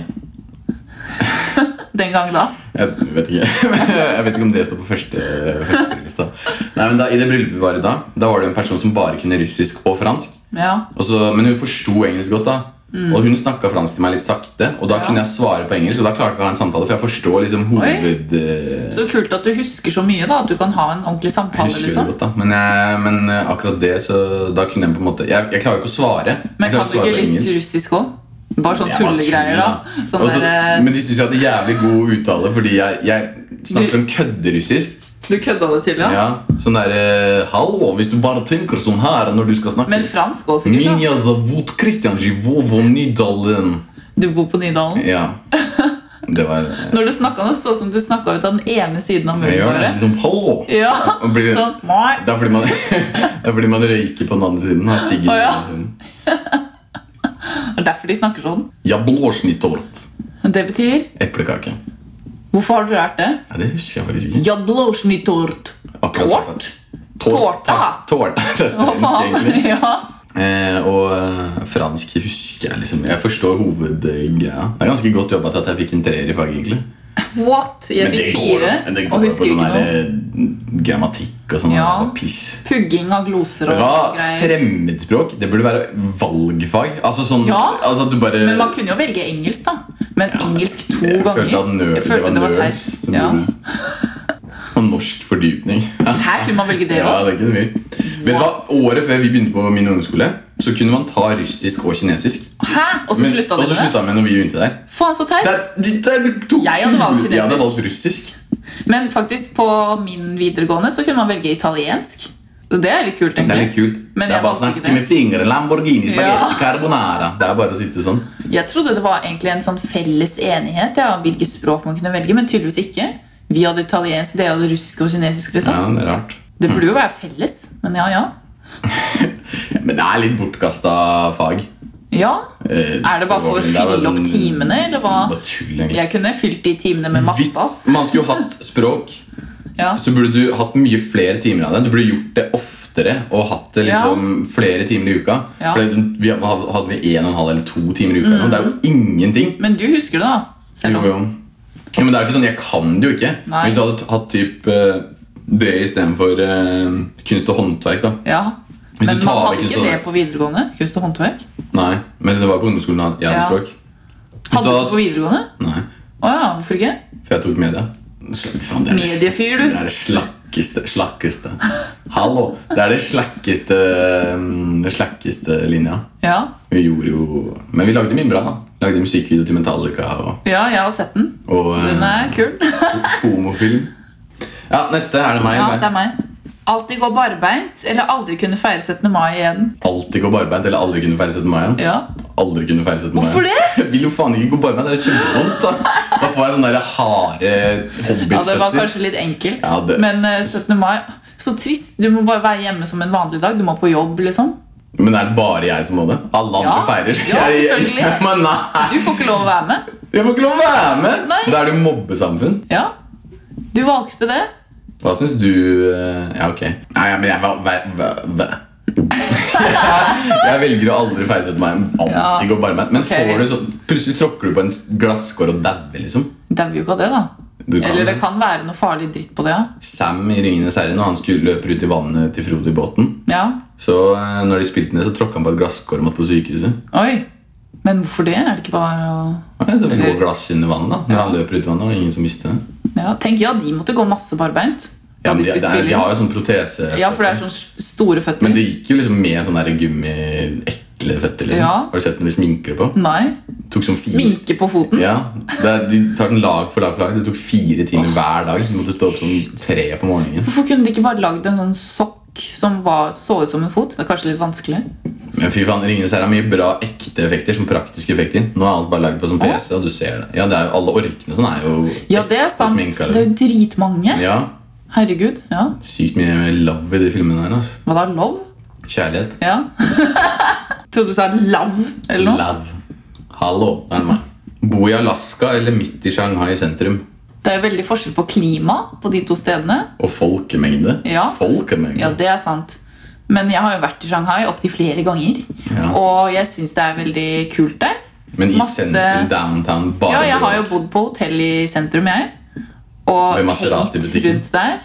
Speaker 3: Den gang da.
Speaker 1: Jeg vet ikke Jeg vet ikke om det står på første førstelista. Nei, men da, I det bryllupet vi var i da, da var det en person som bare kunne russisk og fransk.
Speaker 3: Ja.
Speaker 1: Og så, men hun forsto engelsk godt, da. Og hun snakka fransk til meg litt sakte, og da
Speaker 3: Mm. Ja.
Speaker 1: kunne jeg svare på engelsk. Og da klarte vi å ha en samtale, for jeg forstår liksom hoved... eh,
Speaker 3: Så kult at du husker så mye, da. At du kan ha en ordentlig
Speaker 1: Jeg
Speaker 3: samtale.
Speaker 1: husker det
Speaker 3: liksom.
Speaker 1: godt, da. Men, jeg, men eh, akkurat det, så da kunne jeg på en måte Jeg, jeg klarer jo ikke å svare.
Speaker 3: Men
Speaker 1: Jeg klarer å
Speaker 3: kan du
Speaker 1: svare
Speaker 3: ikke
Speaker 1: på
Speaker 3: litt
Speaker 1: engelsk.
Speaker 3: russisk òg? Bare sånn
Speaker 1: Jeg bare
Speaker 3: tullegreier, da.
Speaker 1: tuller,
Speaker 3: Sånn
Speaker 1: Og så-
Speaker 3: der, eh,
Speaker 1: men de syns jeg hadde jævlig god uttale, fordi jeg, jeg snakker
Speaker 3: Du-
Speaker 1: sånn kødderussisk.
Speaker 3: du kødda det til, ja.
Speaker 1: Ja, sånn der eh, Hallo, hvis du bare tenker sånn her når du skal snakke
Speaker 3: Men fransk òg, sikkert.
Speaker 1: Minja zavut Kristian Jivovo Nydalen
Speaker 3: da. Du bor på Nydalen.
Speaker 1: Ja, det var eh,
Speaker 3: Når du snakka, det så ut som du snakka ut av den ene siden av
Speaker 1: Jeg
Speaker 3: munnen
Speaker 1: gjør det
Speaker 3: bare.
Speaker 1: liksom Hallo
Speaker 3: Ja,
Speaker 1: Og blir-
Speaker 3: sånn «Moi».
Speaker 1: Det er fordi man, det er fordi man røyker på den andre siden Har siggen på
Speaker 3: Å, ja.
Speaker 1: den andre siden.
Speaker 3: Det er derfor de snakker sånn.
Speaker 1: Jablosjnitort
Speaker 3: Det betyr
Speaker 1: Eplekake
Speaker 3: Hvorfor har du lært det?
Speaker 1: Ja, det husker jeg faktisk ikke
Speaker 3: Jablosjny tort.
Speaker 1: Akkurat sånn.
Speaker 3: Tort?
Speaker 1: Tort-
Speaker 3: Torta.
Speaker 1: Tort Det er
Speaker 3: Hva
Speaker 1: svensk
Speaker 3: faen?
Speaker 1: egentlig
Speaker 3: Ja.
Speaker 1: Eh, og eh, fransk husker jeg liksom Jeg forstår hovedgreia. Det er ganske godt jobba til at jeg fikk en treer i faget. egentlig
Speaker 3: What? Jeg fikk
Speaker 1: går,
Speaker 3: fire
Speaker 1: men det
Speaker 3: og
Speaker 1: går på
Speaker 3: husker
Speaker 1: sånn
Speaker 3: ikke
Speaker 1: der,
Speaker 3: noe.
Speaker 1: eh, grammatikk og sånn.
Speaker 3: Ja.
Speaker 1: der Piss.
Speaker 3: Pugging av gloser og
Speaker 1: Ja,
Speaker 3: greier.
Speaker 1: fremmedspråk det burde være valgfag. Altså sånn
Speaker 3: Ja.
Speaker 1: altså at du bare
Speaker 3: Men man kunne jo velge engelsk, da. Men engelsk to
Speaker 1: Jeg
Speaker 3: ganger.
Speaker 1: følte at nerd,
Speaker 3: jeg følte
Speaker 1: det var nerds.
Speaker 3: teit.
Speaker 1: som
Speaker 3: Ja.
Speaker 1: gjorde det. Og norsk fordypning.
Speaker 3: Her kunne man velge det
Speaker 1: Ja,
Speaker 3: òg.
Speaker 1: det kunne vi. Vet du hva?
Speaker 3: What?
Speaker 1: Året før vi begynte på min ungdomsskole, så kunne man ta russisk og kinesisk.
Speaker 3: Hæ? Og så
Speaker 1: Men-
Speaker 3: slutta
Speaker 1: og
Speaker 3: de
Speaker 1: så
Speaker 3: med det?
Speaker 1: slutta vi når vi begynte der.
Speaker 3: Faen, så teit.
Speaker 1: Der- de- der- du tok-
Speaker 3: Jeg hadde valgt kinesisk.
Speaker 1: Jeg hadde valgt russisk.
Speaker 3: Men faktisk, på min videregående så kunne man velge italiensk. Så det er litt kult,
Speaker 1: Det er litt
Speaker 3: egentlig.
Speaker 1: kult.
Speaker 3: Men
Speaker 1: det
Speaker 3: jeg
Speaker 1: er bare sånn, å
Speaker 3: valgte ikke
Speaker 1: snakke
Speaker 3: det.
Speaker 1: med fingrene. Lamborghini, spagetti,
Speaker 3: Ja.
Speaker 1: carbonara. Det er bare å sitte sånn.
Speaker 3: Jeg trodde det var egentlig en sånn felles enighet ja, om hvilke språk man kunne velge, men tydeligvis ikke. Vi hadde italiensk, dere hadde russisk og kinesisk.
Speaker 1: Ja, Mm.
Speaker 3: liksom.
Speaker 1: det er rart.
Speaker 3: Det burde jo være felles, men ja, ja.
Speaker 1: Men det er litt bortkasta fag.
Speaker 3: Ja?
Speaker 1: Eh,
Speaker 3: Er det bare for å
Speaker 1: er bare
Speaker 3: fylle opp
Speaker 1: sånn-
Speaker 3: timene, eller hva?
Speaker 1: Bare tull, egentlig.
Speaker 3: Jeg kunne fylt de timene med matte.
Speaker 1: Hvis
Speaker 3: ass.
Speaker 1: man skulle hatt språk,
Speaker 3: Ja.
Speaker 1: så burde du hatt mye flere timer av det. Du burde gjort det oftere og hatt det liksom flere timer i uka.
Speaker 3: Ja. Mm.
Speaker 1: For det er liksom- vi hadde- Hadde vi en og en halv eller to timer i uka? nå? Det er jo ingenting.
Speaker 3: Men du husker det, da? Selv
Speaker 1: Jo,
Speaker 3: om
Speaker 1: jo. Jo, men det er jo ikke sånn, Jeg kan det jo ikke.
Speaker 3: Nei.
Speaker 1: Hvis du hadde t- hatt typ, eh, det istedenfor uh, kunst og håndverk, da.
Speaker 3: Ja.
Speaker 1: Hvis
Speaker 3: Men
Speaker 1: du tar
Speaker 3: man
Speaker 1: vekk
Speaker 3: hadde ikke
Speaker 1: kunst-
Speaker 3: det på videregående? Kunst og håndverk?
Speaker 1: Nei, men det var på ungdomsskolen jeg hadde
Speaker 3: Ja.
Speaker 1: språk. Hvis
Speaker 3: Hadde
Speaker 1: du
Speaker 3: du
Speaker 1: hadde-
Speaker 3: det på videregående?
Speaker 1: Nei,
Speaker 3: Å ja, hvorfor ikke?
Speaker 1: for jeg tok media. Så- Faen, det er det-
Speaker 3: Mediefyr, du.
Speaker 1: Det er det slakkeste, slakkeste. Hallo! Det er det slakkeste, mm, det slakkeste linja.
Speaker 3: Ja.
Speaker 1: Vi gjorde jo Men vi lagde mye bra. da. Lagde musikkvideo til Metallica og,
Speaker 3: ja, jeg har sett den.
Speaker 1: og eh,
Speaker 3: Den er kul.
Speaker 1: homofilm. Ja, neste er det meg.
Speaker 3: Ja,
Speaker 1: eller?
Speaker 3: det er meg. Alltid gå barbeint eller aldri kunne feire 17. mai igjen.
Speaker 1: Alltid gå barbeint eller aldri kunne feire 17. mai igjen.
Speaker 3: Ja.
Speaker 1: Aldri kunne feire 17. mai.
Speaker 3: Hvorfor det?
Speaker 1: Jeg vil jo faen ikke gå barbeint. Det er kjempevondt. Da Da får jeg sånne der harde
Speaker 3: ja, det var
Speaker 1: hobbitføtter.
Speaker 3: kanskje litt enkel,
Speaker 1: Ja, det-
Speaker 3: men eh, 17. mai Så trist. Du må bare være hjemme som en vanlig dag. Du må på jobb, liksom.
Speaker 1: Men er det bare jeg som må det? Alle andre
Speaker 3: Ja.
Speaker 1: feirer. så
Speaker 3: Ja,
Speaker 1: jeg-
Speaker 3: selvfølgelig.
Speaker 1: Men nei,
Speaker 3: Du får ikke lov å være med.
Speaker 1: jeg får ikke lov å være med!
Speaker 3: Nei.
Speaker 1: Da er det mobbesamfunn.
Speaker 3: Ja. Du valgte det.
Speaker 1: Hva syns du eh, Ja, ok. Nei, ja, men jeg var væ, væ, væ. jeg velger å aldri feire 17. mai.
Speaker 3: Ja.
Speaker 1: Alltid gå barbeint. Men
Speaker 3: Ok.
Speaker 1: får du så, plutselig tråkker du på en glasskår og dauer, liksom.
Speaker 3: Dauer jo ikke av det, da.
Speaker 1: Du kan-
Speaker 3: Eller det kan være noe farlig dritt på det, ja.
Speaker 1: Sam i Ringenes herre når han skulle løpe ut i vannet til Frode i båten.
Speaker 3: ja.
Speaker 1: Så eh, når de spilte ned, så tråkka han på et glasskår og måtte på sykehuset.
Speaker 3: Oi. Men hvorfor det? Er det ikke bare å
Speaker 1: Ja, det lå glass under vannet da Når han løper ut i vannet, og ingen som visste det.
Speaker 3: ja, Tenk, ja, de måtte gå masse barbeint. Da
Speaker 1: Ja, men de,
Speaker 3: de skulle
Speaker 1: det er,
Speaker 3: spille
Speaker 1: de
Speaker 3: inn.
Speaker 1: har jo sånn protese
Speaker 3: Ja, for det er sånn s- store føtter.
Speaker 1: Men det gikk jo liksom med sånne der gummi ekle føtter. Liksom.
Speaker 3: Ja.
Speaker 1: Har du sett når de sminker det på?
Speaker 3: Nei.
Speaker 1: Tok sånn fire
Speaker 3: Sminke på foten.
Speaker 1: Ja, det er, De tar sånn lag for lag for lag. Det tok fire timer hver dag. De måtte stå opp sånn tre på morgenen.
Speaker 3: Hvorfor kunne de ikke bare lagd en sånn sokk som var, så ut som en fot? Det er kanskje litt vanskelig.
Speaker 1: Men fy faen, Ringenes herre har mye bra ekte effekter som praktiske effekter. Nå er alt bare lagd på sånn PC, og du ser det. Ja, det er jo Alle orkene og sånn er jo
Speaker 3: Ja, det er
Speaker 1: ekte
Speaker 3: sant.
Speaker 1: sminka,
Speaker 3: Det er jo dritmange.
Speaker 1: liksom. Ja,
Speaker 3: Herregud. Ja.
Speaker 1: Sykt mye love i de filmene her. altså.
Speaker 3: Hva da? Love?
Speaker 1: Kjærlighet.
Speaker 3: Ja. Trodde du sa love eller noe.
Speaker 1: Love. Hallo, det er meg. Bo i Alaska eller midt i Shanghai sentrum?
Speaker 3: Det er veldig forskjell på klima på de to stedene.
Speaker 1: Og folkemengde.
Speaker 3: Ja.
Speaker 1: Folkemengde.
Speaker 3: Ja, det er sant. Men jeg har jo vært i Shanghai opptil flere ganger,
Speaker 1: Ja.
Speaker 3: og jeg syns det er veldig kult der.
Speaker 1: Men i
Speaker 3: masse-
Speaker 1: sentrum, downtown, bare
Speaker 3: Ja, jeg har jo
Speaker 1: bråk.
Speaker 3: bodd på hotell i sentrum, jeg. Og
Speaker 1: Ved
Speaker 3: hengt
Speaker 1: Maserati-butikken.
Speaker 3: rundt der.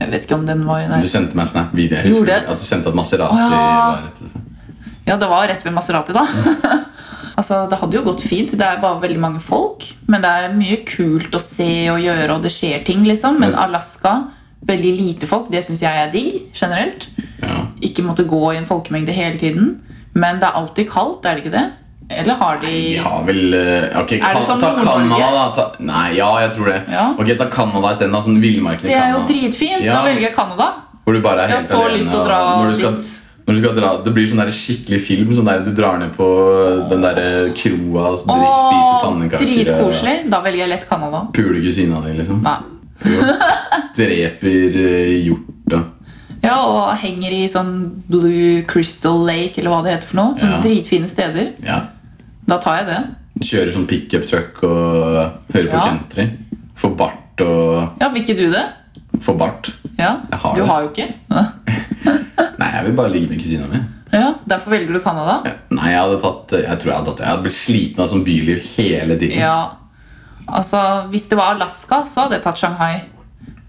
Speaker 3: Jeg vet ikke om den var
Speaker 1: Du
Speaker 3: der.
Speaker 1: sendte meg en snap video. Jeg
Speaker 3: Gjorde
Speaker 1: husker
Speaker 3: jeg?
Speaker 1: at du sendte at Maserati
Speaker 3: Å, ja.
Speaker 1: var rett utenfor.
Speaker 3: Ja, det var rett ved Maserati, da. altså, Det hadde jo gått fint. Det er bare veldig mange folk. Men det er mye kult å se og gjøre, og det skjer ting, liksom. Men
Speaker 1: Men-
Speaker 3: Alaska, veldig lite folk, det syns jeg er digg generelt.
Speaker 1: Ja.
Speaker 3: Ikke måtte gå i en folkemengde hele tiden. Men det er alltid kaldt, er det ikke det? Eller har de
Speaker 1: De har vel eh, Ok, kan,
Speaker 3: som
Speaker 1: ta
Speaker 3: Nord-Norge?
Speaker 1: Canada, da. Ta, nei, ja, jeg tror det.
Speaker 3: Ja.
Speaker 1: Ok, Ta Canada isteden. da, Sånn villmarken i
Speaker 3: Det er jo
Speaker 1: Canada.
Speaker 3: dritfint!
Speaker 1: Ja.
Speaker 3: Da velger jeg Canada.
Speaker 1: Hvor du bare er
Speaker 3: Jeg
Speaker 1: helt
Speaker 3: har så
Speaker 1: alene,
Speaker 3: lyst til å
Speaker 1: og
Speaker 3: dra
Speaker 1: når du skal,
Speaker 3: dit.
Speaker 1: Når du skal dra, det blir sånn der skikkelig film. Sånn der Du drar ned på den der kroa og drik, spiser
Speaker 3: Åh,
Speaker 1: pannekaker. eh.
Speaker 3: Dritkoselig. Da velger jeg lett Canada.
Speaker 1: og Puler kusina di, liksom.
Speaker 3: Nei.
Speaker 1: Dreper eh, hjorta.
Speaker 3: Ja, og henger i sånn Blue Crystal Lake, eller hva det heter for noe. Sånne
Speaker 1: Ja.
Speaker 3: dritfine steder.
Speaker 1: Ja.
Speaker 3: Da tar jeg det.
Speaker 1: Kjører sånn pickup truck og eh, hører på
Speaker 3: Ja.
Speaker 1: country. Får bart og
Speaker 3: Ja, vil ikke du det?
Speaker 1: Får bart.
Speaker 3: Ja,
Speaker 1: Jeg har
Speaker 3: Du
Speaker 1: det.
Speaker 3: har jo ikke.
Speaker 1: Nei, jeg vil bare ligge med kusina mi.
Speaker 3: Ja, Derfor velger du Canada?
Speaker 1: Ja. Nei, jeg hadde tatt Jeg tror jeg hadde tatt det. Jeg hadde blitt sliten av sånn byliv hele tiden.
Speaker 3: Ja. Altså, Hvis det var Alaska, så hadde jeg tatt Shanghai.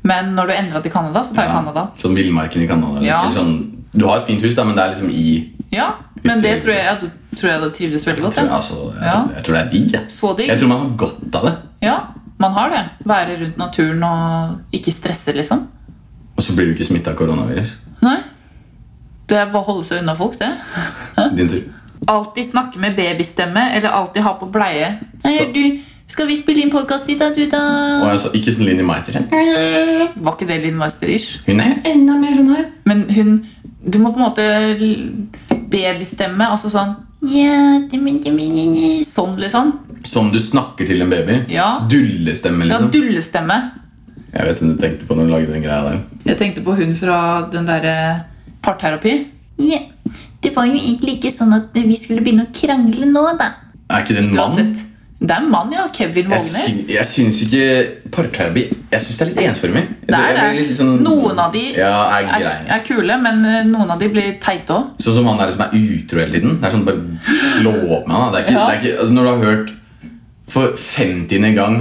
Speaker 3: Men når du endra til Canada, så tar jeg
Speaker 1: Ja.
Speaker 3: Canada.
Speaker 1: Sånn villmarken i Canada. eller-
Speaker 3: Ja.
Speaker 1: eller Sånn, du har et fint hus, da, men det er liksom i
Speaker 3: Ja, Men det tror jeg, jeg tror jeg hadde trivdes veldig godt.
Speaker 1: tror, jeg,
Speaker 3: Ja.
Speaker 1: altså, jeg,
Speaker 3: Ja.
Speaker 1: tror, jeg tror det er digg. Jeg.
Speaker 3: Så digg.
Speaker 1: jeg tror man har godt av det.
Speaker 3: Ja, man har det. Være rundt naturen og ikke stresse, liksom.
Speaker 1: Og så blir du ikke smitta av koronavirus.
Speaker 3: Nei. Det er bare å holde seg unna folk, det.
Speaker 1: Din tur.
Speaker 3: Alltid snakke med babystemme, eller alltid ha på bleie. Nei,
Speaker 1: Så-
Speaker 3: du, skal vi spille inn podkast i dag, du, da?
Speaker 1: Og altså, ikke sånn Linni Meister. sånn.
Speaker 3: Var ikke det Linn Meister-ish?
Speaker 1: Hun er enda mer sånn her.
Speaker 3: Men hun Du må på en måte l- babystemme, altså sånn ja, dimmi, dimmi, dimmi, Sånn, liksom.
Speaker 1: Som du snakker til en baby.
Speaker 3: Ja.
Speaker 1: Dullestemme,
Speaker 3: Ja,
Speaker 1: liksom.
Speaker 3: dullestemme.
Speaker 1: Jeg vet hvem du tenkte på når du lagde den greia der.
Speaker 3: eh, Jeg tenkte på hun fra den derre parterapi. Ja,
Speaker 4: Det var jo egentlig ikke sånn at vi skulle begynne å krangle nå, da.
Speaker 5: Er ikke det en
Speaker 3: Du har
Speaker 5: mann?
Speaker 3: sett. Det er en mann, ja. Kevin
Speaker 1: Jeg,
Speaker 3: Vågnes.
Speaker 1: syn, jeg syns ikke parterapi Jeg syns det er litt ensformig.
Speaker 3: Det er
Speaker 1: Jeg blir
Speaker 3: det.
Speaker 1: litt sånn-
Speaker 3: Noen av de
Speaker 1: ja, er
Speaker 3: er,
Speaker 1: greie.
Speaker 3: er kule, men eh, noen av de blir teite òg.
Speaker 1: Sånn som han der som er utro hele tiden. Det er sånn, bare slå opp med han. da. Det er ikke,
Speaker 3: Ja.
Speaker 1: det er ikke, altså, når du har hørt for femtiende gang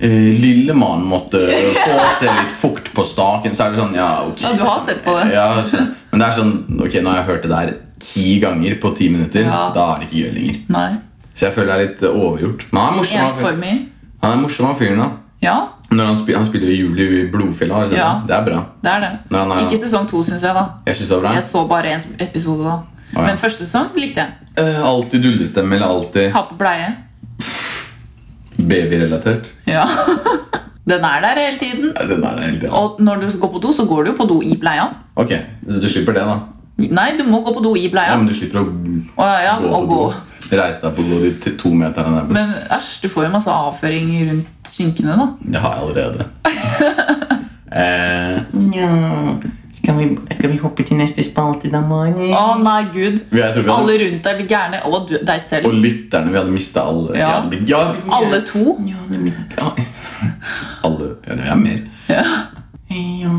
Speaker 1: eh, Lille mann måtte få seg litt fukt på staken, så er det sånn Ja, ok.
Speaker 3: Ja, du har sett på det.
Speaker 1: Ja, så- men det er sånn Ok, nå har jeg hørt det der ti ganger på ti minutter.
Speaker 3: Ja.
Speaker 1: Da er det ikke gøy lenger.
Speaker 3: Nei.
Speaker 1: Så jeg føler det er litt eh, overgjort. Men han er morsom, han fyren.
Speaker 3: Ensformig.
Speaker 1: Han er morsom, han fyren. da
Speaker 3: Ja,
Speaker 1: Når han, spiller, han spiller jo Juli i Blodfjella. har du sett
Speaker 3: Ja.
Speaker 1: det? Det er bra.
Speaker 3: det er det.
Speaker 1: Når han er,
Speaker 3: Ikke sesong to, syns jeg. da
Speaker 1: jeg synes det er bra
Speaker 3: Jeg så bare en episode da.
Speaker 1: ja.
Speaker 3: Men første sesong likte jeg.
Speaker 1: Eh, Alltid dullestemme eller alltid
Speaker 3: Ha på bleie.
Speaker 1: babyrelatert.
Speaker 3: Ja. Den er der hele tiden.
Speaker 1: Nei, Den er helt enig.
Speaker 3: Og når du går på do, så går du jo på do i bleia.
Speaker 1: Ok, så du slipper det, da.
Speaker 3: Nei, du må gå på do i
Speaker 1: Ja,
Speaker 3: bleia.
Speaker 1: men du slipper å
Speaker 3: Å, ja,
Speaker 1: gå på
Speaker 3: og gå.
Speaker 1: do. Reise deg opp og gå de t- to meterne der.
Speaker 3: Men æsj, du får jo masse avføring rundt skinkene, da.
Speaker 1: Det har jeg allerede. eh,
Speaker 6: Skal vi, skal vi hoppe til neste spalte da, Mari?
Speaker 3: Å nei, gud.
Speaker 1: jeg tror vi hadde,
Speaker 3: Alle rundt deg blir gærne. Og du, deg selv.
Speaker 1: og lytterne, vi hadde mista alle.
Speaker 3: Ja.
Speaker 1: vi hadde blitt- ja, vi-
Speaker 3: Alle to.
Speaker 6: Ja, det blir
Speaker 1: Ja. alle. Ja, det er mer.
Speaker 6: Eh, Ja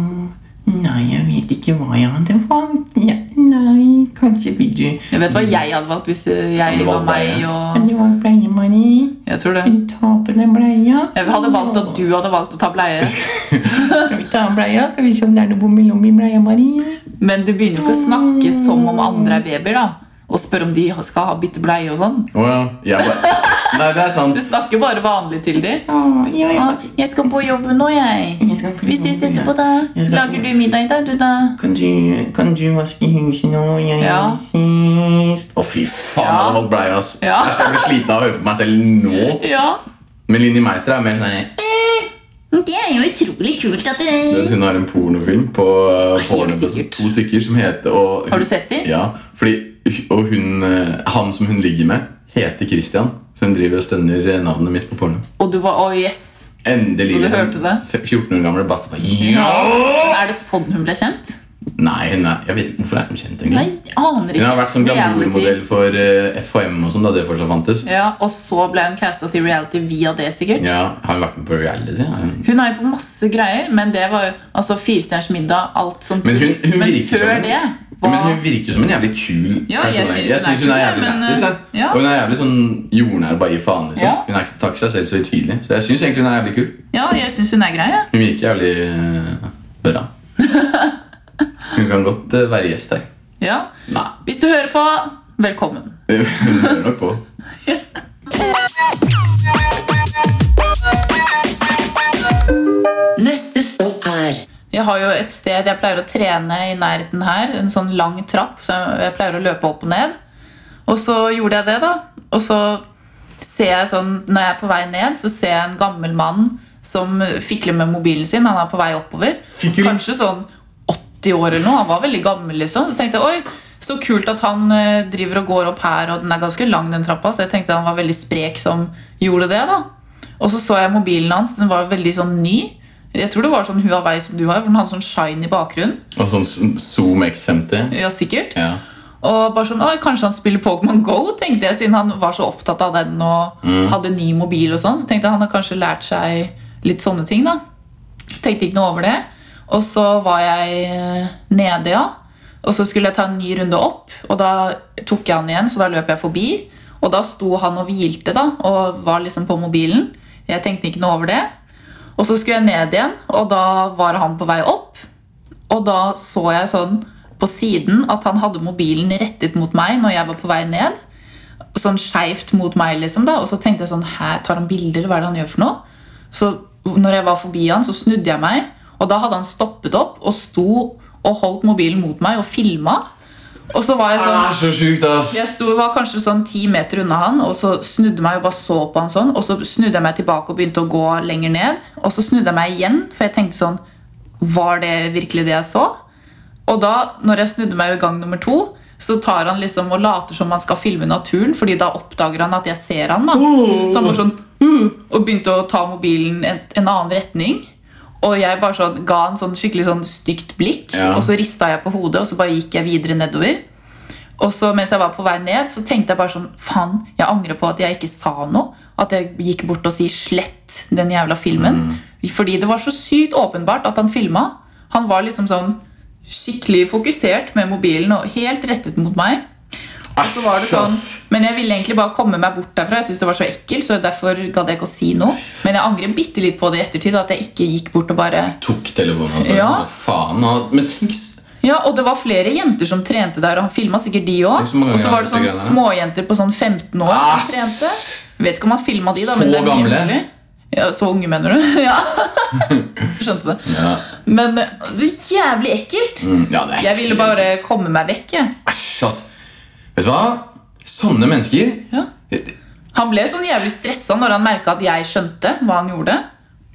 Speaker 6: Nei, jeg vet ikke hva jeg hadde valgt. Ja, nei, kanskje vil du
Speaker 3: Jeg vet hva jeg hadde valgt hvis jeg
Speaker 1: det var
Speaker 3: var meg.
Speaker 1: deg,
Speaker 6: Kan
Speaker 3: og
Speaker 6: du valgt bleie, Mari?
Speaker 3: Jeg tror det.
Speaker 6: Vil du ta på deg bleia?
Speaker 3: Jeg hadde valgt at du hadde valgt å ta bleie.
Speaker 6: Skal vi ta av bleia? Skal vi se om det er noe bommelom i bleia, Mari?
Speaker 3: Men du begynner jo ikke å snakke som om andre er babyer, da. Og spør om de skal ha bytte bleie og sånn.
Speaker 1: Å ja. Jeg bare... Nei, det er sant.
Speaker 3: Du snakker bare vanlig til dem.
Speaker 6: Å, ja, ja.
Speaker 4: Jeg skal på jobb nå, jeg.
Speaker 6: Jeg skal på
Speaker 4: Vi ses
Speaker 6: jobb, ja.
Speaker 4: etterpå, da.
Speaker 6: Jeg skal på-
Speaker 4: Lager du middag i dag, du, da?
Speaker 6: Kan du, kan du vaske huset nå? Jeg
Speaker 3: Ja.
Speaker 6: sist.
Speaker 1: Å, fy faen, jeg
Speaker 3: Ja.
Speaker 1: hadde valgt bleie, ass.
Speaker 3: Ja.
Speaker 1: Æsj, Jeg blir sliten av å høre på meg selv nå.
Speaker 3: Ja.
Speaker 1: Men Linni Meister er mer sånn her,
Speaker 4: Det er jo utrolig kult at
Speaker 1: Du vet,
Speaker 4: det
Speaker 1: Hun har en pornofilm på eh,
Speaker 3: Helt
Speaker 1: Pornhub,
Speaker 3: sikkert.
Speaker 1: to stykker som heter og,
Speaker 3: Har du sett de?
Speaker 1: Ja, fordi og hun, eh, han som hun ligger med, heter Christian. Så hun driver og stønner eh, navnet mitt på porno.
Speaker 3: Og du var Å, yes.
Speaker 1: Endelig.
Speaker 3: Og du
Speaker 1: den
Speaker 3: hørte det?
Speaker 1: f- 14 år gamle Basse bare ja!
Speaker 3: Er det sånn hun ble kjent?
Speaker 1: Nei, hun er, jeg vet ikke hvorfor er hun kjent, egentlig.
Speaker 3: Nei, jeg aner ikke.
Speaker 1: Hun har vært sånn glamourmodell
Speaker 3: Reality.
Speaker 1: for eh, FHM og sånn, da det fortsatt fantes.
Speaker 3: Ja, Og så ble hun casta til reality via det, sikkert.
Speaker 1: Ja, Har hun vært med på reality? Ja, hun-
Speaker 3: Hun er jo på masse greier, men det var jo altså Firestjerners middag, alt sånt.
Speaker 1: Men hun- hun
Speaker 3: men
Speaker 1: virker
Speaker 3: før
Speaker 1: som-
Speaker 3: det var
Speaker 1: Men hun virker som en jævlig kul
Speaker 3: Ja,
Speaker 1: person.
Speaker 3: jeg synes
Speaker 1: jeg
Speaker 3: hun er
Speaker 1: synes hun er
Speaker 3: kul,
Speaker 1: jævlig
Speaker 3: men,
Speaker 1: lættis. jeg.
Speaker 3: eh, ja.
Speaker 1: Og hun er jævlig sånn jordnær, bare i faen. liksom
Speaker 3: Ja.
Speaker 1: Hun er ikke tar ikke seg selv så høytidelig. Så jeg syns egentlig hun er jævlig kul.
Speaker 3: Ja, jeg syns hun er grei. jeg.
Speaker 1: Hun virker jævlig eh, bra. Hun kan godt eh, være gjest her.
Speaker 3: Ja.
Speaker 1: Nei,
Speaker 3: Hvis du hører på, velkommen.
Speaker 1: hun hører nok på.
Speaker 2: Neste stopp er
Speaker 3: Jeg har jo et sted jeg pleier å trene i nærheten her. En sånn lang trapp, så jeg pleier å løpe opp og ned. Og så gjorde jeg det, da. Og så ser jeg sånn, når jeg er på vei ned, så ser jeg en gammel mann som fikler med mobilen sin. Han er på vei oppover. Kanskje sånn 80 år eller noe. Han var veldig gammel, liksom. Så tenkte jeg, oi, så kult at han eh, driver og går opp her, og den er ganske lang, den trappa. Så jeg tenkte han var veldig sprek som gjorde det, da. Og så så jeg mobilen hans. Den var veldig sånn ny. Jeg tror det var sånn Huawei som du har, for den hadde sånn shiny bakgrunn.
Speaker 1: Og sånn s- Zoom X50.
Speaker 3: Ja, sikkert.
Speaker 1: Ja.
Speaker 3: Og bare sånn, Oi, kanskje han spiller Pokémon Go, tenkte jeg, siden han var så opptatt av den og hadde ny mobil og sånn. Så tenkte jeg han har kanskje lært seg litt sånne ting, da. Tenkte ikke noe over det. Og så var jeg eh, nede, ja. Og så skulle jeg ta en ny runde opp, og da tok jeg han igjen, så da løp jeg forbi. Og da sto han og hvilte, da, og var liksom på mobilen. Jeg tenkte ikke noe over det. Og så skulle jeg ned igjen, og da var han på vei opp. Og da så jeg sånn på siden at han hadde mobilen rettet mot meg når jeg var på vei ned. Sånn skeivt mot meg, liksom. da Og så tenkte jeg sånn Hæ, tar han bilder? Hva er det han gjør for noe? Så når jeg var forbi han, så snudde jeg meg, og da hadde han stoppet opp og sto og holdt mobilen mot meg og filma. Og så var jeg sånn
Speaker 1: Ah, så sjukt, ass!
Speaker 3: jeg sto, var kanskje sånn ti meter unna han, og så snudde meg og bare så på han sånn. Og så snudde jeg meg tilbake og begynte å gå lenger ned. Og så snudde jeg meg igjen, for jeg tenkte sånn Var det virkelig det jeg så? Og da, når jeg snudde meg i gang nummer to, så tar han liksom og later som han skal filme naturen, fordi da oppdager han at jeg ser han. da Så han bare sånn «Uh», Og begynte å ta mobilen en, en annen retning. Og jeg bare sånn, ga han sånn skikkelig sånn stygt blikk,
Speaker 1: Ja.
Speaker 3: og så rista jeg på hodet, og så bare gikk jeg videre nedover. Og så mens jeg var på vei ned, så tenkte jeg bare sånn Faen, jeg angrer på at jeg ikke sa noe. At jeg gikk bort og si 'slett den jævla filmen'. Fordi det var så sykt åpenbart at han filma. Han var liksom sånn skikkelig fokusert med mobilen og helt rettet mot meg. Og så var det sånn, men jeg ville egentlig bare komme meg bort derfra. Jeg synes det var så ekkelt, så derfor gadd jeg ikke å si noe. Men jeg angrer bitte litt på det i ettertid, at jeg ikke gikk bort og bare
Speaker 1: Tok telefonen hans. bare,
Speaker 3: Ja.
Speaker 1: Hva faen? han- Men tenk s-
Speaker 3: ja, og det var flere jenter som trente der, og han filma sikkert de òg.
Speaker 1: Tenk så mange
Speaker 3: Og så var det
Speaker 1: ganger
Speaker 3: sånn
Speaker 1: jeg har gjort det
Speaker 3: småjenter på sånn 15 år
Speaker 1: Ah,
Speaker 3: som trente. Vet ikke om han filma de, da.
Speaker 1: så
Speaker 3: men det er mye
Speaker 1: gamle?
Speaker 3: mulig. Ja, så unge, mener du? ja. Skjønte det.
Speaker 1: Ja,
Speaker 3: Men eh, det er jævlig ekkelt.
Speaker 1: Mm, ja det er
Speaker 3: Jeg ville
Speaker 1: helt- sånn,
Speaker 3: bare komme meg vekk. jeg.
Speaker 1: Æsj, ass. Vet du hva? Sånne mennesker
Speaker 3: Ja.
Speaker 1: Du
Speaker 3: Han ble sånn jævlig stressa når han merka at jeg skjønte hva han gjorde.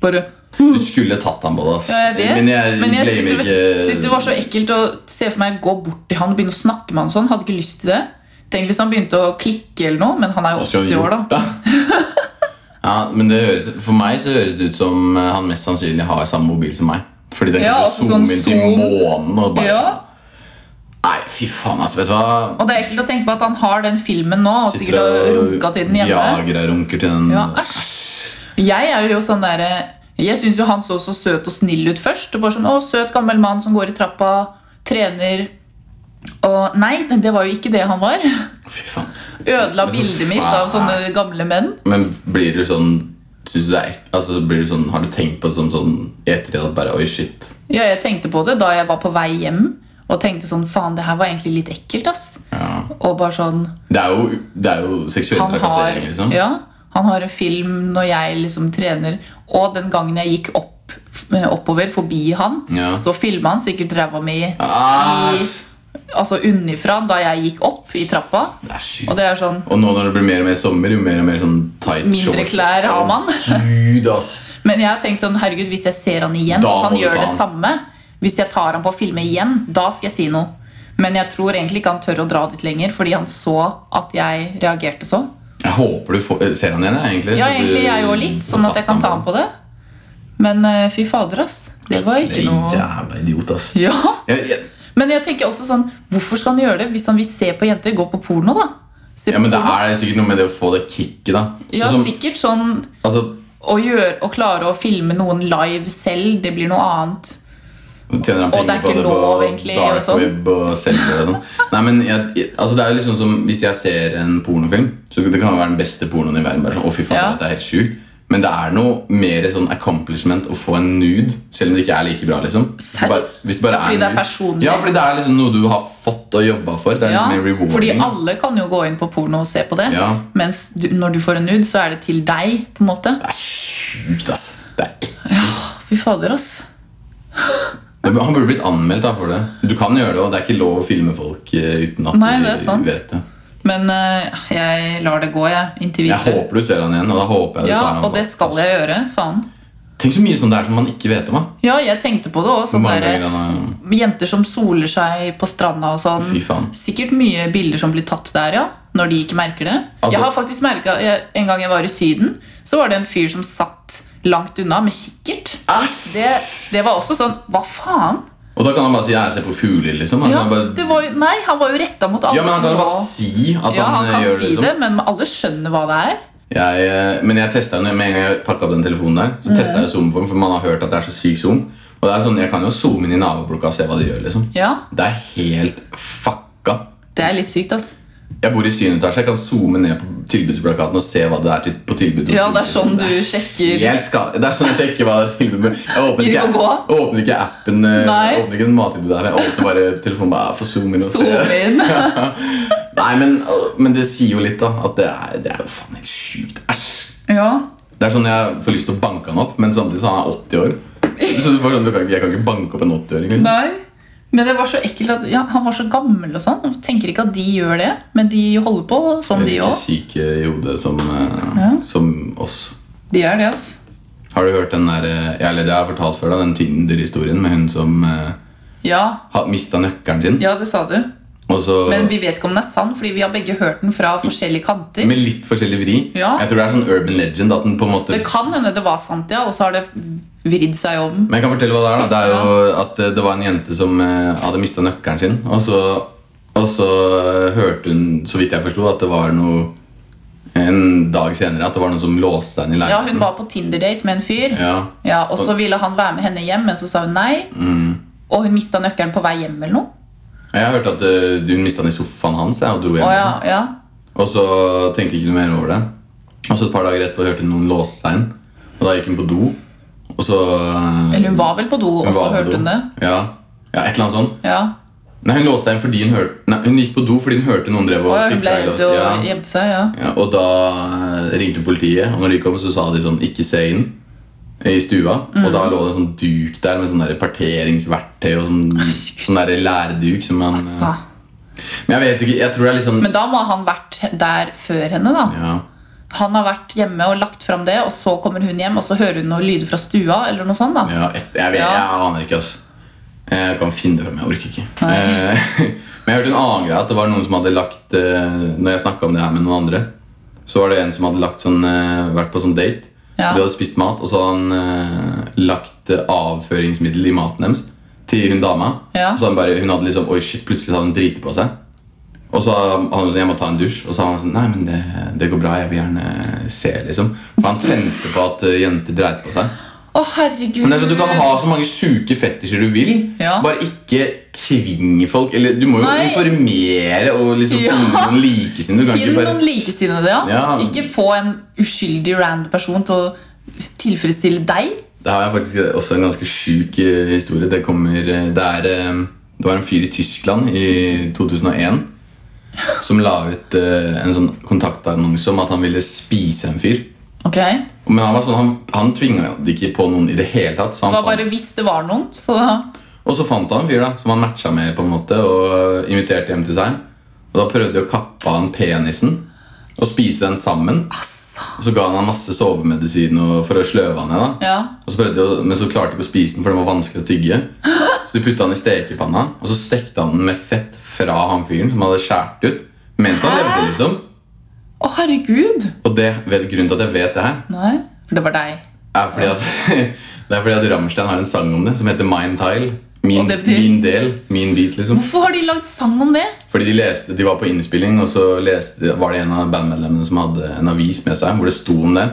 Speaker 3: Bare
Speaker 1: skulle tatt ham på det, ass.
Speaker 3: Ja, jeg vet.
Speaker 1: Men jeg,
Speaker 3: Men jeg syns
Speaker 1: blamer
Speaker 3: det, syns det var så ekkelt å se for meg gå bort til han og begynne å snakke med han sånn. Hadde ikke lyst til det. Tenk hvis han begynte å klikke eller noe, men han er
Speaker 1: Hva
Speaker 3: jo
Speaker 1: skulle han
Speaker 3: 80 år,
Speaker 1: gjort,
Speaker 3: da.
Speaker 1: ja, men det høres, For meg så høres det ut som eh, han mest sannsynlig har samme mobil som meg. Fordi den
Speaker 3: Ja,
Speaker 1: kan
Speaker 3: altså
Speaker 1: zoome
Speaker 3: sånn
Speaker 1: inn til
Speaker 3: zoom.
Speaker 1: månen og bare
Speaker 3: Ja.
Speaker 1: Nei, fy faen, ass. Vet du hva?
Speaker 3: Og det er ekkelt å tenke på at han har den filmen nå og sikkert
Speaker 1: Sitter
Speaker 3: har
Speaker 1: og
Speaker 3: runka til den hjemme.
Speaker 1: Jager og runker til den.
Speaker 3: Ja, æsj. Jeg er jo sånn derre Jeg syns jo han så så søt og snill ut først. Og bare sånn, å, søt gammel mann som går i trappa, trener Og nei, men det var jo ikke det han var.
Speaker 1: Fy faen.
Speaker 3: Ødela
Speaker 1: Men så
Speaker 3: bildet mitt
Speaker 1: faen.
Speaker 3: av sånne gamle menn.
Speaker 1: Men blir du sånn Synes du det er ek- altså, så blir du sånn, Har du tenkt på det sånn, sånn i ettertid at bare Oi, shit.
Speaker 3: Ja, jeg tenkte på det da jeg var på vei hjem og tenkte sånn Faen, det her var egentlig litt ekkelt, ass.
Speaker 1: Ja.
Speaker 3: Og bare sånn
Speaker 1: Det er jo, det er jo seksuell
Speaker 3: Han har,
Speaker 1: trakassering, liksom.
Speaker 3: ja, han har en film når jeg liksom trener, og den gangen jeg gikk opp, eh, oppover forbi han,
Speaker 1: Ja.
Speaker 3: så filma han sikkert ræva mi
Speaker 1: Æsj!
Speaker 3: altså unnifra da jeg gikk opp i trappa.
Speaker 1: Det er sykt.
Speaker 3: Og det er sånn
Speaker 1: Og nå når det blir mer og mer sommer, jo mer og mer sånn tight
Speaker 3: Mindre
Speaker 1: shorts.
Speaker 3: klær har man.
Speaker 1: Gud, ass.
Speaker 3: Men jeg har tenkt sånn, herregud, hvis jeg ser han igjen,
Speaker 1: Da
Speaker 3: og han
Speaker 1: må du ta
Speaker 3: gjør det
Speaker 1: han.
Speaker 3: samme Hvis jeg tar han på å filme igjen, da skal jeg si noe. Men jeg tror egentlig ikke han tør å dra dit lenger, fordi han så at jeg reagerte sånn.
Speaker 1: Jeg håper du får, ser han igjen, jeg, egentlig.
Speaker 3: Ja,
Speaker 1: så blir
Speaker 3: egentlig
Speaker 1: du-
Speaker 3: jeg òg litt, sånn at jeg kan ta han på det. Men eh, fy fader, ass. Det var ikke
Speaker 1: Det er en
Speaker 3: noe
Speaker 1: Jævla idiot, ass.
Speaker 3: Ja,
Speaker 1: Jeg, jeg,
Speaker 3: Men jeg tenker også sånn, hvorfor skal han gjøre det hvis han vil se på jenter? Gå på porno, da. Se
Speaker 1: ja,
Speaker 3: på
Speaker 1: men det
Speaker 3: porno.
Speaker 1: er sikkert noe med det å få det kicket, da. Så
Speaker 3: Ja,
Speaker 1: som-
Speaker 3: sikkert sånn
Speaker 1: altså,
Speaker 3: å, gjøre, å klare å filme noen live selv, det blir noe annet.
Speaker 1: tjener han
Speaker 3: Og
Speaker 1: penger
Speaker 3: det er
Speaker 1: på
Speaker 3: ikke
Speaker 1: det
Speaker 3: lov,
Speaker 1: på
Speaker 3: egentlig, og
Speaker 1: dark
Speaker 3: sånn.
Speaker 1: web og selger det og sånn. Nei, men jeg, jeg- altså, det er jo liksom som hvis jeg ser en pornofilm, så det kan jo være den beste pornoen i verden. Bare sånn, å fy faen,
Speaker 3: Ja.
Speaker 1: dette er helt sjukt. Men det er noe mer sånn accomplishment å få en nude, selv om det ikke er like bra. liksom
Speaker 3: Serr?
Speaker 1: Bare- hvis det bare
Speaker 3: Ja, fordi det er
Speaker 1: nude.
Speaker 3: personlig.
Speaker 1: Ja, fordi det er liksom noe du har fått og jobba for. Det er
Speaker 3: Ja,
Speaker 1: liksom en rewarding.
Speaker 3: fordi alle kan jo gå inn på porno og se på det.
Speaker 1: Ja.
Speaker 3: Mens du, når du får en nude, så er det til deg, på en måte.
Speaker 1: Sjukt, ass. Det er ikke-
Speaker 3: Fy fader, ass.
Speaker 1: Men Han burde blitt anmeldt da, for det. Du kan gjøre det, og det er ikke lov å filme folk eh, uten at
Speaker 3: Nei,
Speaker 1: de
Speaker 3: det er sant.
Speaker 1: vet det.
Speaker 3: Men eh, jeg lar det gå, jeg. Inntil
Speaker 1: Jeg
Speaker 3: videre.
Speaker 1: håper du ser han igjen, og da håper jeg du
Speaker 3: Ja,
Speaker 1: tar han
Speaker 3: og det skal jeg gjøre. Faen.
Speaker 1: Tenk så mye sånn det er som man ikke vet om. da.
Speaker 3: Ja, jeg tenkte på det òg.
Speaker 1: Hvor
Speaker 3: Sånn
Speaker 1: mange
Speaker 3: der,
Speaker 1: ganger han har-
Speaker 3: jenter som soler seg på stranda og sånn.
Speaker 1: Fy faen.
Speaker 3: Sikkert mye bilder som blir tatt der, ja. Når de ikke merker det.
Speaker 1: Altså-
Speaker 3: jeg har faktisk merket, jeg, En gang jeg var i Syden, så var det en fyr som satt langt unna med kikkert. Det, det var også sånn Hva faen?
Speaker 1: Og da kan han bare si 'jeg ser på fugler', liksom. Han
Speaker 3: Ja,
Speaker 1: kan bare...
Speaker 3: det var, jo- nei, han var jo retta mot alle.
Speaker 1: ja, men han
Speaker 3: som
Speaker 1: kan jo bare
Speaker 3: lå-
Speaker 1: si at
Speaker 3: ja,
Speaker 1: han,
Speaker 3: han
Speaker 1: eh,
Speaker 3: kan
Speaker 1: gjør
Speaker 3: si
Speaker 1: det. liksom.
Speaker 3: det, men alle skjønner hva det er.
Speaker 1: Jeg, eh, men jeg testet den med en gang jeg pakka opp den telefonen der.
Speaker 3: Mm.
Speaker 1: Så testet jeg zoom for den, for man har hørt at det er så syk zoom. Og det er sånn, Jeg kan jo zoome inn i naboblokka og se hva de gjør. liksom
Speaker 3: Ja,
Speaker 1: Det er helt fucka.
Speaker 3: Det er litt sykt, ass.
Speaker 1: Jeg bor i 7. etasje. Jeg kan zoome ned på tilbudsplakaten og se hva det er til, på tilbudet.
Speaker 3: Ja, det er sånn du sjekker
Speaker 1: Helt skal- Det er sånn jeg sjekker hva det er tilbudet. Jeg åpner
Speaker 3: Gidder
Speaker 1: ikke,
Speaker 3: ikke å gå.
Speaker 1: jeg åpner ikke appen, eh,
Speaker 3: Nei.
Speaker 1: jeg åpner ikke den mattilbudet her. Jeg åpner bare telefonen bare for zoom inn og
Speaker 3: zoom
Speaker 1: se.
Speaker 3: inn.
Speaker 1: Nei, men, øh, men det sier jo litt, da. At det er, det er jo faen helt sjukt. Æsj.
Speaker 3: Ja.
Speaker 1: Det er sånn jeg får lyst til å banke han opp, men samtidig så er han 80 år. Så du får sånn, du kan, ikke- Jeg kan ikke banke opp en 80-åring. liksom.
Speaker 3: Nei. Men det var så ekkelt at ja, han var så gammel og sånn. Jeg tenker ikke at de gjør det, men de holder på sånn, de
Speaker 1: Like
Speaker 3: òg.
Speaker 1: syke i hodet som, eh, som oss.
Speaker 3: De er det, ass.
Speaker 1: Har du hørt den der, eh, jeg, eller det har jeg fortalt før da, den Tinder-historien med hun som eh,
Speaker 3: Ja,
Speaker 1: mista nøkkelen sin?
Speaker 3: ja, det sa du.
Speaker 1: Og så,
Speaker 3: Men vi vet ikke om den er sann, fordi vi har begge hørt den fra forskjellige kanter.
Speaker 1: med litt forskjellig vri.
Speaker 3: Ja.
Speaker 1: Jeg tror det er sånn urban legend. at den på en måte...
Speaker 3: Det kan hende det var sant, ja, og så har det vridd seg om.
Speaker 1: Men jeg kan fortelle hva det er. da Det er jo at eh, det var en jente som eh, hadde mista nøkkelen sin. Og så Og så eh, hørte hun, så vidt jeg forsto, at det var noe En dag senere at det var noen som låste henne i
Speaker 3: Ja, hun
Speaker 1: leiligheten.
Speaker 3: var på Tinder-date med en fyr.
Speaker 1: Ja,
Speaker 3: Ja, Og så ville han være med henne hjem, men så sa hun nei.
Speaker 1: Mm.
Speaker 3: Og hun mista nøkkelen på vei hjem eller noe.
Speaker 1: Jeg hørte at eh, hun mista den i sofaen hans ja, og dro hjem.
Speaker 3: Å, ja, ja.
Speaker 1: Og så tenkte jeg ikke noe mer over det. Og så et par dager etterpå hørte hun noen låse seg inn. Og da gikk hun på do. Og så eh,
Speaker 3: Eller hun var vel på do, og så
Speaker 1: var på
Speaker 3: hørte
Speaker 1: do.
Speaker 3: hun det.
Speaker 1: Ja. ja, et eller annet sånt.
Speaker 3: Ja,
Speaker 1: Nei, hun låste seg inn fordi hun hørte Nei, hun gikk på do fordi hun hørte noen drev
Speaker 3: og
Speaker 1: og
Speaker 3: Hun
Speaker 1: fikla
Speaker 3: ble
Speaker 1: i
Speaker 3: redd
Speaker 1: låsen.
Speaker 3: og
Speaker 1: Ja.
Speaker 3: gjemte seg. ja.
Speaker 1: Ja, og da eh, ringte politiet, og når de kom, så sa de sånn Ikke se inn i stua. Og
Speaker 3: Mm.
Speaker 1: da lå det en sånn duk der med sånn der parteringsverktøy og sånn, sånn der lærduk som man eh,
Speaker 3: Altså.
Speaker 1: Men jeg vet ikke, jeg tror det er litt sånn
Speaker 3: Men da må han vært der før henne. da
Speaker 1: ja.
Speaker 3: Han har vært hjemme og lagt fram det, og så kommer hun hjem, og så hører hun noe lyder fra stua. eller noe sånt da
Speaker 1: Ja, et, jeg, vet,
Speaker 3: Ja.
Speaker 1: jeg aner ikke, altså. Jeg kan finne det fram, jeg orker ikke. Eh, Men jeg hørte en annen greie, at det var noen som hadde lagt eh, Når jeg snakket om det her med noen andre, så var det en som hadde lagt sånn, eh, vært på sånn date.
Speaker 3: Ja.
Speaker 1: De hadde spist mat, og så hadde han eh, lagt eh, avføringsmiddel i maten deres til hun dama.
Speaker 3: Ja.
Speaker 1: Så han bare, hun hadde liksom, oi shit, plutselig hadde hun driti på seg. Og så han sånn, jeg må ta en dusj, og så var han sånn Nei, men det, det går bra, jeg vil gjerne se, liksom. For han tente på at eh, jenter dreit på seg.
Speaker 3: Å, herregud!
Speaker 1: Men det er sånn, Du kan ha så mange sjuke fetisjer du vil,
Speaker 3: Ja.
Speaker 1: bare ikke tving folk. Eller Du må jo
Speaker 3: Nei.
Speaker 1: informere og liksom
Speaker 3: Ja.
Speaker 1: finne noen likesinnede. Du kan
Speaker 3: Finn
Speaker 1: ikke bare
Speaker 3: noen likesinnede, ja.
Speaker 1: Ja.
Speaker 3: Ikke få en uskyldig random person til å tilfredsstille deg.
Speaker 1: Det har jeg faktisk også en ganske sjuk eh, historie. Det, kommer, eh, det, er, eh, det var en fyr i Tyskland i 2001 som la ut eh, en sånn kontaktannonse om at han ville spise en fyr.
Speaker 3: Ok Det
Speaker 1: Men han var sånn, han, han tvinga det ikke på noen i det hele tatt. Så han
Speaker 3: var
Speaker 1: fant-
Speaker 3: bare hvis det var noen, så
Speaker 1: Og så fant han en fyr da, som han matcha med på en måte og eh, inviterte hjem til seg. Og Da prøvde de å kappe han penisen og spise den sammen. Og så ga han han masse sovemedisin og, for å sløve han ned. da.
Speaker 3: Ja.
Speaker 1: Og så prøvde de å, men så klarte de ikke å spise den, for den var vanskelig å tygge. Så de putta han i stekepanna, og så stekte han den med fett fra han fyren som hadde skåret ut. Mens han
Speaker 3: Hæ?
Speaker 1: levde, liksom.
Speaker 3: Å, herregud!
Speaker 1: Og det, vet- grunnen til at jeg vet det her,
Speaker 3: Nei, for det var deg.
Speaker 1: er fordi at, det er fordi at Rammstein har en sang om det som heter Mine Tile. Min,
Speaker 3: Og det betyr-
Speaker 1: min del. Min bit, liksom.
Speaker 3: Hvorfor har de lagd sang om det?
Speaker 1: Fordi de leste, de var på innspilling, og så leste, var det en av bandmedlemmene som hadde en avis med seg, hvor det sto om det.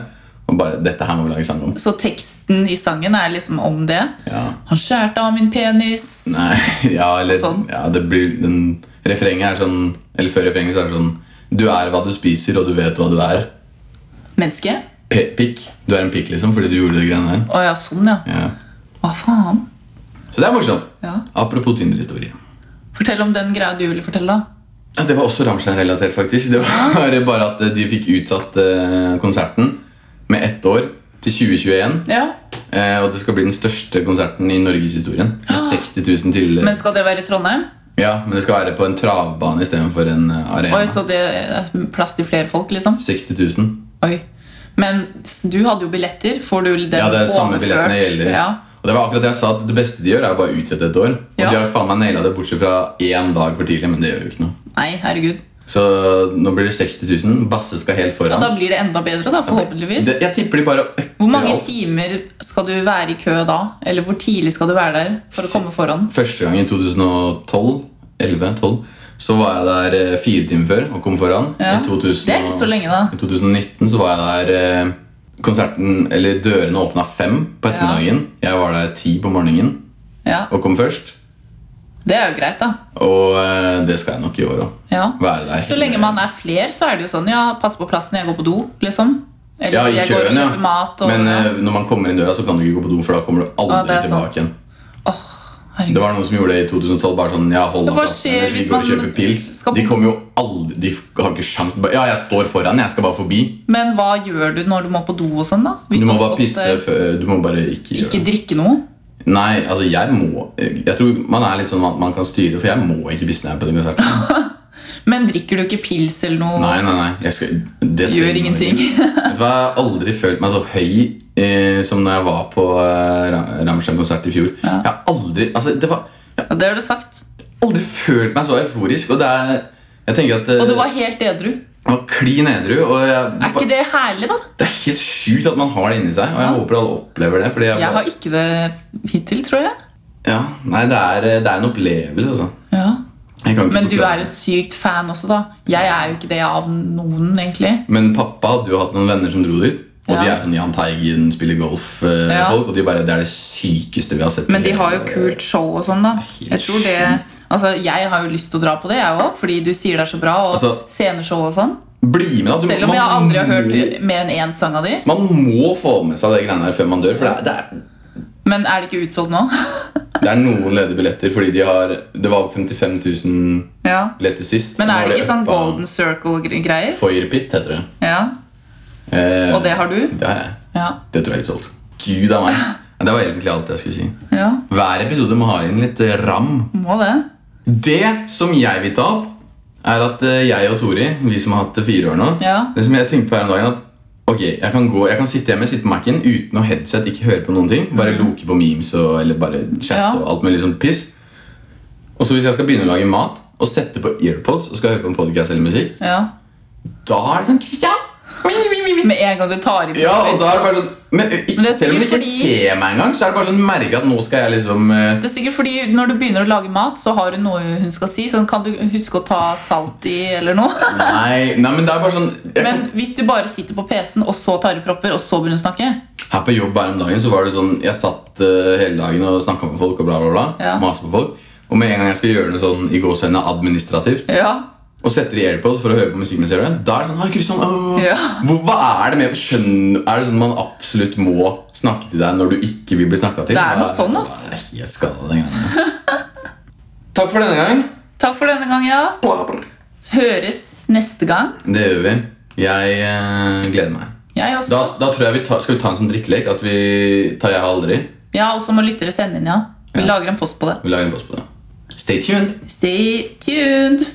Speaker 1: Og bare 'Dette her må vi lage sang om'.
Speaker 3: Så teksten i sangen er liksom om det?
Speaker 1: Ja,
Speaker 3: Han skjærte av min penis.
Speaker 1: Nei, ja eller
Speaker 3: Sånn.
Speaker 1: ja, det blir, den, Refrenget er sånn Eller før refrenget så er det sånn Du er hva du spiser, og du vet hva du er.
Speaker 3: Menneske?
Speaker 1: P pikk. Du er en pikk, liksom, fordi du gjorde de greiene der.
Speaker 3: Å ja, sånn, ja.
Speaker 1: Ja.
Speaker 3: Hva faen?
Speaker 1: Så det er morsomt.
Speaker 3: Ja.
Speaker 1: Apropos Tinder-historie.
Speaker 3: Fortell om den greia du ville fortelle. da.
Speaker 1: Ja, Det var også Rammstein-relatert, faktisk. Det var bare at de fikk utsatt eh, konserten med ett år, til 2021.
Speaker 3: Ja.
Speaker 1: Eh, og det skal bli den største konserten i norgeshistorien. Med 60 000 til
Speaker 3: Ah. Men skal det være i Trondheim?
Speaker 1: Ja, men det skal være på en travbane istedenfor en eh, arena.
Speaker 3: Oi, så det er plass til flere folk, liksom?
Speaker 1: 60 000.
Speaker 3: Oi. Men s- du hadde jo billetter. Får du den
Speaker 1: Ja, det er samme
Speaker 3: overført?
Speaker 1: billettene gjelder.
Speaker 3: Ja.
Speaker 1: Og det var akkurat det jeg sa, at det beste de gjør, er å bare utsette et år. Og
Speaker 3: Ja.
Speaker 1: de har jo faen meg naila det bortsett fra én dag for tidlig, men det gjør jo ikke noe.
Speaker 3: Nei, herregud.
Speaker 1: Så nå blir det 60 000. Basse skal helt
Speaker 3: Ja,
Speaker 1: foran.
Speaker 3: da blir det enda bedre, da, forhåpentligvis.
Speaker 1: Det, jeg tipper de bare
Speaker 3: Hvor mange
Speaker 1: alt.
Speaker 3: timer skal du være i kø da? Eller hvor tidlig skal du være der for å komme foran?
Speaker 1: Første gang i 2012 11, 12, så var jeg der eh, fire timer før og kom foran.
Speaker 3: Ja.
Speaker 1: I 2000
Speaker 3: Det er ikke så lenge, da.
Speaker 1: I 2019 så var jeg der eh, Konserten, eller dørene åpna fem på ettermiddagen. Jeg var der ti på morgenen
Speaker 3: Ja,
Speaker 1: og kom først.
Speaker 3: Det er jo greit, da.
Speaker 1: Og eh, det skal jeg nok i år òg.
Speaker 3: Ja.
Speaker 1: Være der.
Speaker 3: Så lenge man er fler, så er det jo sånn Ja, pass på plassen, jeg går på do, liksom. Eller
Speaker 1: ja, i
Speaker 3: jeg går og
Speaker 1: køen, ja.
Speaker 3: kjøper mat. Og,
Speaker 1: Men eh, når man kommer inn døra, så kan du ikke gå på do, for da kommer du
Speaker 3: Ja, det
Speaker 1: aldri
Speaker 3: er sant.
Speaker 1: tilbake igjen.
Speaker 3: herregud.
Speaker 1: Det var noen som gjorde det i 2012. bare sånn, ja, hold
Speaker 3: Men
Speaker 1: av
Speaker 3: hva
Speaker 1: plassen,
Speaker 3: skjer
Speaker 1: ellers vi
Speaker 3: hvis
Speaker 1: går og
Speaker 3: man
Speaker 1: kjøper pils.
Speaker 3: skal-
Speaker 1: De kommer jo aldri De har ikke sjans bare, Ja, jeg står foran, jeg skal bare forbi.
Speaker 3: Men hva gjør du når du må på do og sånn, da? Hvis
Speaker 1: Du må
Speaker 3: du har
Speaker 1: bare
Speaker 3: stått
Speaker 1: pisse
Speaker 3: der,
Speaker 1: før Du må bare ikke gjøre det.
Speaker 3: Ikke drikke noe?
Speaker 1: Nei, altså jeg må Jeg tror man er litt sånn at man kan styre, for jeg må ikke pisse når jeg er på den konserten.
Speaker 3: Men drikker du ikke pils eller noe?
Speaker 1: Nei, nei, nei. Jeg skal, det trenger man
Speaker 3: Gjør ingenting.
Speaker 1: ikke. Vet du hva, Jeg har aldri følt meg så høy eh, som når jeg var på eh, Ra- Rammstein-konsert i fjor. Jeg har aldri altså, det var, jeg
Speaker 3: Ja, det har du sagt.
Speaker 1: har aldri følt meg så euforisk. Og det er jeg tenker at eh,
Speaker 3: Og du var helt edru.
Speaker 1: jeg var klin edru. Og jeg,
Speaker 3: Er ikke det herlig, da?
Speaker 1: det er helt sjukt at man har det inni seg, og jeg håper alle opplever det. Fordi jeg,
Speaker 3: Jeg har ikke det hittil, tror jeg.
Speaker 1: ja, nei, det er, det er en opplevelse, altså.
Speaker 3: Ja.
Speaker 1: Jeg Jeg kan ikke
Speaker 3: Men du
Speaker 1: forklare.
Speaker 3: er jo sykt fan også, da. Jeg er jo ikke det av noen, egentlig.
Speaker 1: Men pappa hadde jo hatt noen venner som dro dit. Og de
Speaker 3: Ja.
Speaker 1: er sånn Jahn Teigen, spiller golf-folk.
Speaker 3: Ja.
Speaker 1: Og de bare, det er det sykeste vi har sett. i
Speaker 3: Men de
Speaker 1: hele-
Speaker 3: har jo kult show og sånn, da.
Speaker 1: Helt
Speaker 3: Jeg tror det Altså, jeg har jo lyst til å dra på det, jeg òg, fordi du sier det er så bra. Og
Speaker 1: Altså-
Speaker 3: sceneshow og sånn.
Speaker 1: Bli med, da! Du-
Speaker 3: Selv om jeg
Speaker 1: man
Speaker 3: aldri har
Speaker 1: må-
Speaker 3: hørt mer enn én sang av de.
Speaker 1: Man må få med seg det greiene her før man dør. For det er, det er,
Speaker 3: Men er det ikke utsolgt nå?
Speaker 1: det er noen ledige billetter, fordi de har Det var 55 000
Speaker 3: ja.
Speaker 1: billetter sist.
Speaker 3: Men
Speaker 1: Nå
Speaker 3: er
Speaker 1: har
Speaker 3: det
Speaker 1: de
Speaker 3: ikke sånn
Speaker 1: uppa-
Speaker 3: Golden Circle-greier?
Speaker 1: Foyer Pit heter det.
Speaker 3: Ja.
Speaker 1: Eh,
Speaker 3: Og det har du?
Speaker 1: Det har jeg.
Speaker 3: Ja.
Speaker 1: Det tror jeg er utsolgt. Gud av meg. Ja, Det var egentlig alt jeg skulle si.
Speaker 3: ja.
Speaker 1: Hver episode må ha inn litt eh, ram.
Speaker 3: Må det.
Speaker 1: Det som jeg vil ta opp, er at eh, jeg og Tori, vi som har hatt det fire år nå
Speaker 3: Ja.
Speaker 1: Det som jeg tenkte på her om dagen, at ok, jeg kan, gå, jeg kan sitte hjemme, sitte på Mac-en uten noe headset, ikke høre på noen ting. Bare loke på memes og, eller bare chatte
Speaker 3: Mm. Ja.
Speaker 1: og alt mulig sånn piss. Og så hvis jeg skal begynne å lage mat og sette på earpods og skal høre på en podcast eller musikk,
Speaker 3: Ja.
Speaker 1: da er det sånn Kristian!
Speaker 3: Med en gang du tar i
Speaker 1: Ja, og da er det bare sånn men, eh, ikke,
Speaker 3: Men det er
Speaker 1: Selv om du
Speaker 3: sikkert
Speaker 1: ikke
Speaker 3: fordi-
Speaker 1: ser meg engang, så er det bare sånn merke at nå skal jeg liksom eh,
Speaker 3: Det er sikkert fordi Når du begynner å lage mat, så har hun noe hun skal si. Sånn, kan du huske å ta salt i, eller noe?
Speaker 1: Nei, nei, men det er bare sånn jeg kan-
Speaker 3: Men hvis du bare sitter på PC-en, og så tar i propper, og så begynner hun å snakke
Speaker 1: Her på jobb her om dagen så var det sånn Jeg satt eh, hele dagen og snakka med folk og bla, bla, bla.
Speaker 3: Ja.
Speaker 1: Maset på folk. Og med en gang jeg skal gjøre det sånn i gåsehudene administrativt,
Speaker 3: Ja,
Speaker 1: og setter i airpods for å høre på musikk mens jeg gjør det, da er det sånn «Hei, Kristian, åh».
Speaker 3: Ja.
Speaker 1: Hvor, Hva er det med skjønn Er det sånn man absolutt må snakke til deg når du ikke vil bli snakka til?
Speaker 3: Det er noe
Speaker 1: Hva-
Speaker 3: sånn, ass.
Speaker 1: hva er det? Jeg skal den gangen. Takk for denne gang.
Speaker 3: Takk for denne gang, ja. Høres neste gang.
Speaker 1: Det gjør vi. Jeg eh, gleder meg.
Speaker 3: Jeg
Speaker 1: Da,
Speaker 3: også.
Speaker 1: da tror jeg vi tar, Skal vi ta en sånn drikkelek? At vi tar jeg aldri?
Speaker 3: Ja, og så må lyttere sende inn, ja. Vi
Speaker 1: Ja.
Speaker 3: lager en post på det.
Speaker 1: Vi lager en post på det. Stay tuned!
Speaker 3: Stay tuned!